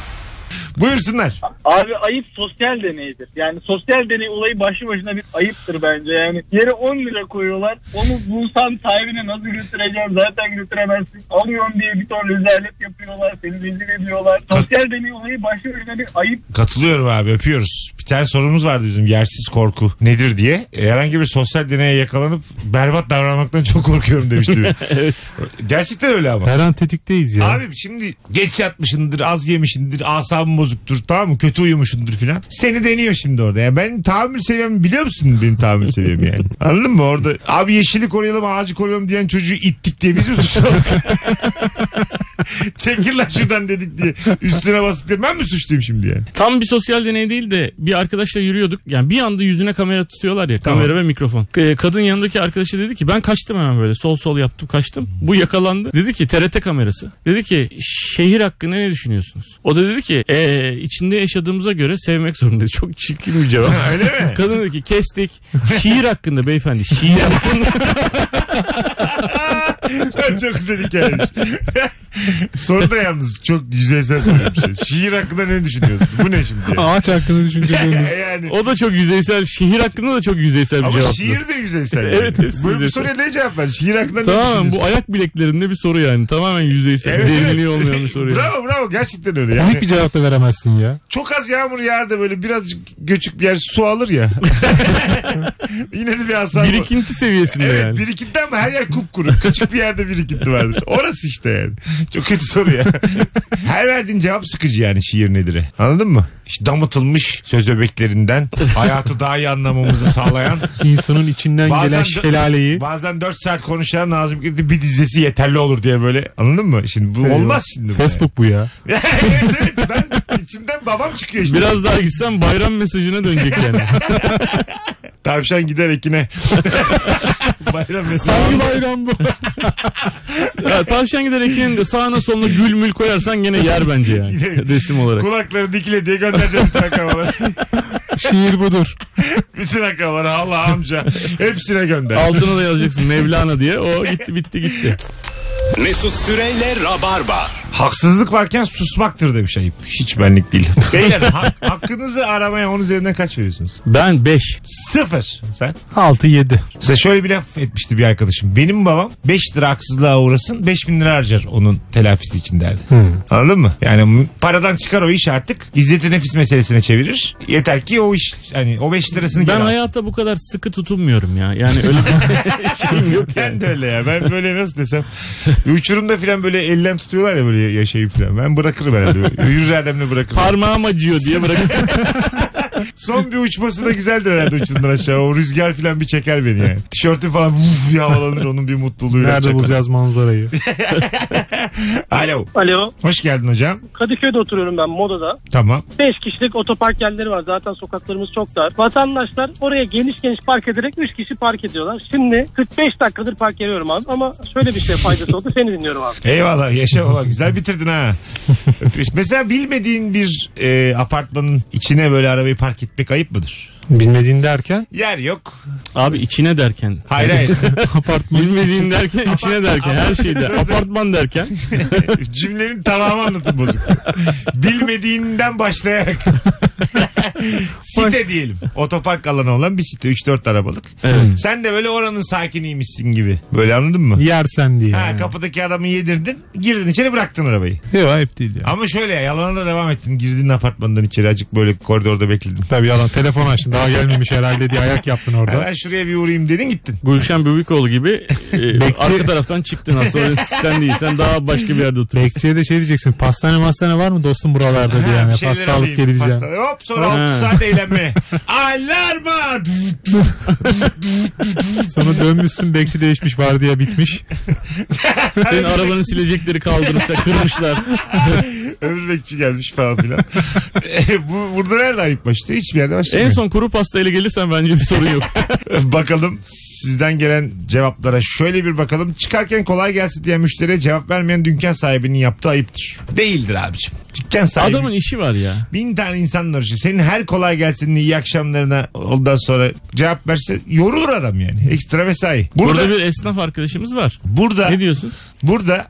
Speaker 2: Buyursunlar.
Speaker 8: Abi ayıp sosyal deneydir. Yani sosyal deney olayı başlı başına bir ayıptır bence. Yani yere 10 lira koyuyorlar. Onu bulsan sahibine nasıl götüreceğim zaten götüremezsin. Alıyorum diye bir ton rezalet yapıyorlar. Seni rezil ediyorlar. Sosyal deney olayı başlı başına bir ayıp.
Speaker 2: Katılıyorum abi öpüyoruz. Bir tane sorumuz vardı bizim yersiz korku nedir diye. E, Herhangi bir sosyal deneye yakalanıp berbat davranmaktan çok korkuyorum demişti.
Speaker 3: Evet.
Speaker 2: Gerçekten öyle ama.
Speaker 4: Her an tetikteyiz ya.
Speaker 2: Abi şimdi geç yatmışındır, az yemişindir, asabın bozuktur tamam mı? Kötü uyumuşundur filan. Seni deniyor şimdi orada. Yani ben tahammül seviyemi biliyor musun benim tahammül seviyemi yani? Anladın mı orada? Abi yeşili koruyalım, ağacı koruyalım diyen çocuğu ittik diye biz mi suçlu olduk? Çekil lan şuradan dedik diye. Üstüne bastık diye ben mi suçluyum şimdi yani?
Speaker 3: Tam bir sosyal deney değil de bir arkadaşla yürüyorduk. Yani bir anda yüzüne kamera tutuyorlar ya.
Speaker 2: Tamam.
Speaker 3: Kamera ve mikrofon. Ee, Kadın yanındaki arkadaşı dedi ki ben kaçtım hemen böyle. Sol sol yaptım kaçtım. Bu yakalandı. Dedi ki TRT kamerası. Dedi ki şehir hakkında ne düşünüyorsunuz? O da dedi ki "Ee, içinde yaşadığımıza göre sevmek zorundayız. Çok çirkin bir cevap.
Speaker 2: (laughs) Öyle mi?
Speaker 3: Kadın dedi ki kestik. Şiir hakkında beyefendi. Şiir hakkında.
Speaker 2: Ben çok güzel hikayeymiş. Soru da yalnız çok yüzeysel soru bir şey. Şiir hakkında ne düşünüyorsun? Bu ne şimdi? yani?
Speaker 4: Ağaç hakkında düşünceleriniz.
Speaker 2: yani
Speaker 3: O da çok yüzeysel. Şehir hakkında da çok yüzeysel bir
Speaker 2: ama
Speaker 3: cevap.
Speaker 2: şiir de yüzeysel. yani.
Speaker 3: Evet, hepsi
Speaker 2: bu, bu
Speaker 3: yüzeysel.
Speaker 2: soruya ne cevap ver? Şiir hakkında ne
Speaker 3: Tamam
Speaker 2: düşünüyorsun?
Speaker 3: bu ayak bileklerinde bir soru yani. Tamamen yüzeysel. (laughs)
Speaker 2: Evet, evet.
Speaker 3: Derinliği olmayan bir soru yani.
Speaker 2: Bravo bravo gerçekten öyle yani.
Speaker 4: Komik bir cevap da veremezsin ya.
Speaker 2: Çok az yağmur yağar da böyle birazcık
Speaker 3: (laughs)
Speaker 2: göçük bir yer su alır ya. Yine de bir hasar var.
Speaker 3: Birikinti seviyesinde
Speaker 2: Evet
Speaker 3: yani.
Speaker 2: birikinti birikinti ama her yer kupkuru. Küçük bir yerde birikinti vardır. Orası işte yani. Çok kötü soru
Speaker 3: (laughs)
Speaker 2: ya. Her verdiğin cevap sıkıcı yani şiir nedir'e. Anladın mı? İşte damıtılmış söz öbeklerinden hayatı daha iyi anlamamızı
Speaker 3: (laughs)
Speaker 2: sağlayan
Speaker 4: İnsanın içinden gelen
Speaker 2: dö-
Speaker 4: şelaleyi.
Speaker 2: Bazen 4 saat konuşan Nazım Hikmet'in bir dizesi yeterli olur diye böyle anladın mı? Şimdi bu olmaz şimdi. bu (laughs)
Speaker 4: Facebook bu ya.
Speaker 2: yani. evet, evet, ben içimden babam çıkıyor işte.
Speaker 3: Biraz daha gitsen bayram mesajına dönecek yani.
Speaker 2: Tavşan gider
Speaker 3: (laughs)
Speaker 2: ekine. Bayram mesajı.
Speaker 4: (laughs) Hangi bayram bu?
Speaker 3: Ya, tavşan gider ekinin de sağına soluna gül mül koyarsan gene yer bence yani. Resim olarak.
Speaker 2: Kulakları dikile diye göndereceğim bütün akrabalara.
Speaker 4: Şiir budur.
Speaker 2: bütün akrabalara Allah amca. Hepsine gönder.
Speaker 3: Altına da yazacaksın Mevlana diye. O gitti bitti gitti.
Speaker 1: Mesut Süreyle Rabarba.
Speaker 2: Haksızlık varken susmaktır demiş ayıp. Hiç benlik değil. Beyler ha- hakkınızı aramaya on üzerinden kaç veriyorsunuz?
Speaker 3: Ben 5.
Speaker 2: Sıfır. Sen?
Speaker 4: 6-7.
Speaker 2: Mesela şöyle bir laf etmişti bir arkadaşım. Benim babam 5 lira haksızlığa uğrasın 5 bin lira harcar onun telafisi için derdi. Anladın mı? Yani m- paradan çıkar o iş artık. İzzet-i nefis meselesine çevirir. Yeter ki o iş hani o 5 lirasını
Speaker 3: Ben
Speaker 2: geri alsın.
Speaker 3: hayata bu kadar sıkı tutunmuyorum ya. Yani öyle bir şeyim yok yani.
Speaker 2: Ben de öyle ya. Ben böyle nasıl desem. Uçurumda falan böyle elden tutuyorlar ya böyle yaşayıp falan. Ben bırakırım herhalde. Yürür ademle bırakırım.
Speaker 3: Parmağım acıyor
Speaker 2: (laughs)
Speaker 3: diye bırakıp
Speaker 2: Son bir uçması da güzeldir herhalde uçurumdan aşağı. O rüzgar falan bir çeker beni yani. Tişörtü falan vuf bir havalanır onun bir mutluluğuyla.
Speaker 4: Nerede
Speaker 2: çakar.
Speaker 4: bulacağız manzarayı?
Speaker 2: Alo.
Speaker 12: Alo.
Speaker 2: Hoş geldin hocam.
Speaker 12: Kadıköy'de oturuyorum ben Moda'da.
Speaker 2: Tamam.
Speaker 12: 5 kişilik otopark yerleri var. Zaten sokaklarımız çok dar. Vatandaşlar oraya geniş geniş park ederek 3 kişi park ediyorlar. Şimdi 45 dakikadır park ediyorum abi ama şöyle bir şey faydası oldu. Seni dinliyorum abi.
Speaker 2: Eyvallah yaşa baba güzel bitirdin ha. Öpüyoruz. Mesela bilmediğin bir e, apartmanın içine böyle arabayı park etmek ayıp mıdır?
Speaker 4: Bilmediğin derken
Speaker 2: Yer yok.
Speaker 3: abi içine derken.
Speaker 2: Hayır hayır.
Speaker 4: apartman.
Speaker 3: Bilmediğin derken içine derken her
Speaker 4: (laughs)
Speaker 3: şeyde. Apartman derken.
Speaker 2: (laughs) Cümlenin tamamı anlatım bozuk. Bilmediğinden başlayarak. site diyelim. Otopark alanı olan bir site. 3-4 arabalık.
Speaker 3: Evet.
Speaker 2: Sen de böyle oranın sakiniymişsin gibi. Böyle anladın mı?
Speaker 4: Yersen diye.
Speaker 2: Ha, kapıdaki adamı yedirdin. Girdin içeri bıraktın arabayı.
Speaker 4: Yok ayıp değil ya.
Speaker 2: Ama şöyle ya, yalana da devam ettin. Girdin apartmandan içeri acık böyle koridorda bekledin.
Speaker 4: Tabii yalan telefon açtın daha gelmemiş herhalde diye ayak yaptın
Speaker 2: Ha,
Speaker 4: orada.
Speaker 2: ben şuraya bir uğrayayım dedin gittin.
Speaker 3: Gülşen Bubikoğlu gibi e, arka taraftan çıktın aslında. Öyle sen değil. Sen daha başka bir yerde oturuyorsun.
Speaker 4: Bekçiye de şey diyeceksin pastane mastane var mı dostum buralarda diye
Speaker 2: Ha,
Speaker 4: yani
Speaker 2: bir şeyler
Speaker 4: pasta alıp
Speaker 2: alayım,
Speaker 4: geleceğim.
Speaker 2: pasta- Hop sonra
Speaker 3: Ha.
Speaker 2: 6 saat eğlenme. Alarma.
Speaker 4: Sonra dönmüşsün bekçi değişmiş var diye bitmiş.
Speaker 3: (laughs) Senin arabanın silecekleri kaldırmışlar, kırmışlar.
Speaker 2: Öbür bekçi gelmiş falan filan.
Speaker 3: (laughs)
Speaker 2: E, bu, burada nerede ayıp başlıyor? Hiçbir yerde başlıyor.
Speaker 3: en son kuru pastayla gelirsen bence bir sorun
Speaker 4: (laughs)
Speaker 3: yok.
Speaker 2: (laughs) bakalım sizden gelen cevaplara şöyle bir bakalım. Çıkarken kolay gelsin diye müşteriye cevap vermeyen dükkan sahibinin yaptığı ayıptır. Değildir abicim. Dükkan sahibi.
Speaker 3: Adamın işi var ya.
Speaker 2: Bin tane insanın uğraşıyor. Senin her kolay gelsin iyi akşamlarına ondan sonra cevap verse yorulur adam yani. Ekstra mesai. Burada,
Speaker 3: Burada
Speaker 2: burada,
Speaker 3: bir esnaf arkadaşımız var.
Speaker 2: burada,
Speaker 3: Ne diyorsun?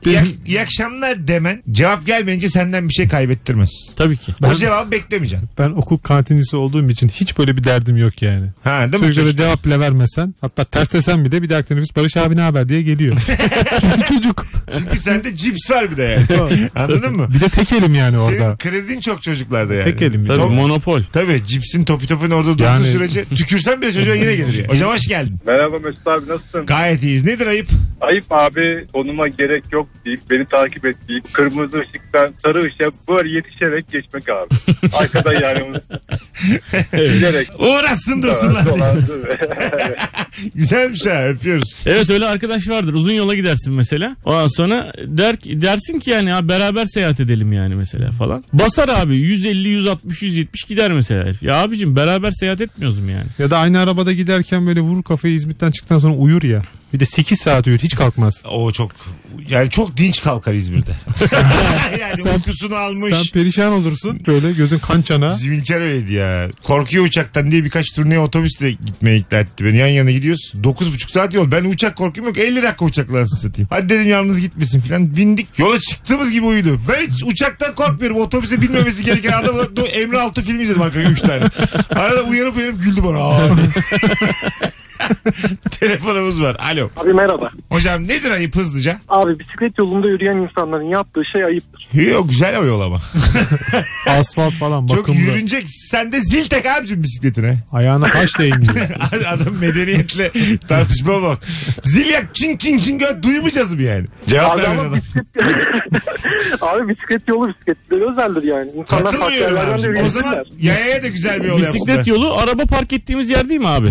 Speaker 2: iyi, ak- iyi akşamlar demen cevap gelmeyince senden bir şey kaybettirmez.
Speaker 3: Tabii ki.
Speaker 2: O cevabı beklemeyeceksin.
Speaker 4: Ben okul kantinisi olduğum için hiç böyle bir derdim yok yani.
Speaker 2: Ha değil mi?
Speaker 4: Çocuklara
Speaker 2: çocuk?
Speaker 4: cevap bile vermesen hatta ters desen bir de bir dahaki nefis Barış abi ne haber diye geliyor.
Speaker 2: (laughs)
Speaker 4: Çünkü çocuk.
Speaker 2: Çünkü sende cips var bir de yani. Anladın mı?
Speaker 4: Bir de tek elim yani
Speaker 2: Senin
Speaker 4: orada.
Speaker 2: kredin çok çocuklarda yani.
Speaker 4: Tek elim.
Speaker 3: Tabii
Speaker 4: Çok-
Speaker 3: monopol.
Speaker 2: Tabii cipsin topi topun orada durduğu
Speaker 4: Yani-
Speaker 2: sürece tükürsen bile çocuğa yine
Speaker 4: (laughs)
Speaker 2: gelir. Yani. Hocam hoş geldin.
Speaker 13: (laughs) Merhaba Mesut abi nasılsın?
Speaker 2: Gayet iyiyiz. Nedir ayıp?
Speaker 13: Ayıp abi konuma gerek yok deyip beni takip et deyip kırmızı ışıktan sarı ışığa böyle yetişerek geçmek
Speaker 2: (laughs)
Speaker 13: abi. Arkada yani gerek.
Speaker 2: Uğraşsın dursunlar. Güzelmiş ha öpüyoruz.
Speaker 3: Evet öyle arkadaş vardır. Uzun yola gidersin mesela. Ondan sonra der ki, dersin ki yani "Ha, beraber seyahat edelim yani mesela falan. Basar abi 150, 160, 170 gider mesela herif. Ya abicim beraber seyahat etmiyoruz mu yani?
Speaker 4: Ya da aynı arabada giderken böyle vurur kafayı İzmit'ten çıktıktan sonra uyur ya. Bir de 8 saat uyur hiç kalkmaz.
Speaker 2: O çok yani çok dinç kalkar İzmir'de. (laughs) yani uykusunu almış.
Speaker 4: Sen perişan olursun böyle gözün kan çana.
Speaker 2: Bizim İlker öyleydi ya. Korkuyor uçaktan diye birkaç turneye otobüsle gitmeye ikna etti beni. Yan yana gidiyoruz. 9,5 saat yol. Ben uçak korkum yok. 50 dakika uçakla nasıl satayım. Hadi dedim yalnız gitmesin filan. Bindik. Yola çıktığımız gibi uyudu. Ben hiç uçaktan korkmuyorum. Otobüse binmemesi gereken adam (laughs) olarak Emre Altı film izledim arkaya 3 tane. Arada uyanıp uyanıp güldü bana. Aa. (laughs) Telefonumuz var. Alo.
Speaker 10: Abi merhaba.
Speaker 2: Hocam nedir ayıp hızlıca?
Speaker 10: Abi bisiklet yolunda yürüyen insanların yaptığı
Speaker 2: (laughs)
Speaker 10: şey ayıptır.
Speaker 2: Yok güzel o yol ama.
Speaker 4: (laughs) Asfalt falan
Speaker 2: Çok
Speaker 4: bakımlı.
Speaker 2: yürünecek. Sen de zil tek abicim bisikletine.
Speaker 4: Ayağına kaç değmiyor.
Speaker 2: Adam medeniyetle tartışma bak. Zil yak çin çin çin gö- duymayacağız mı yani? Cevap
Speaker 10: Abi
Speaker 2: vermeden
Speaker 10: ama
Speaker 2: adam.
Speaker 10: Abi bisiklet yolu bisikletleri özeldir yani. İnsanlar farklı
Speaker 2: Katılmıyorum
Speaker 10: yerlerden de
Speaker 2: abicim. O zaman
Speaker 10: yürüyebilirler.
Speaker 2: yayaya da güzel bir yol
Speaker 3: Bisiklet
Speaker 2: yapmışlar.
Speaker 3: yolu araba park ettiğimiz yer değil mi abi?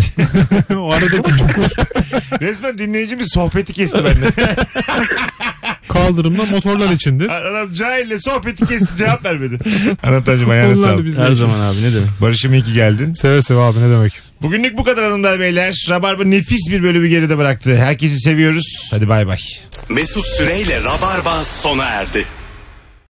Speaker 4: o aradaki çukur.
Speaker 2: Resmen dinleyicimiz sohbeti kesti benden.
Speaker 4: Kaldırımda motorlar içindi.
Speaker 2: Adam cahille sohbeti kesti cevap vermedi. Anlatacığım ayağına
Speaker 4: Onlar da
Speaker 2: sağlık.
Speaker 4: bizden. Her zaman
Speaker 3: abi ne demek.
Speaker 2: Barış'ım iyi ki geldin.
Speaker 4: Seve seve abi ne demek.
Speaker 2: Bugünlük bu kadar hanımlar beyler. Rabarba nefis bir bölümü geride bıraktı. Herkesi seviyoruz. Hadi bay bay.
Speaker 1: Mesut Süreyle Rabarba sona erdi.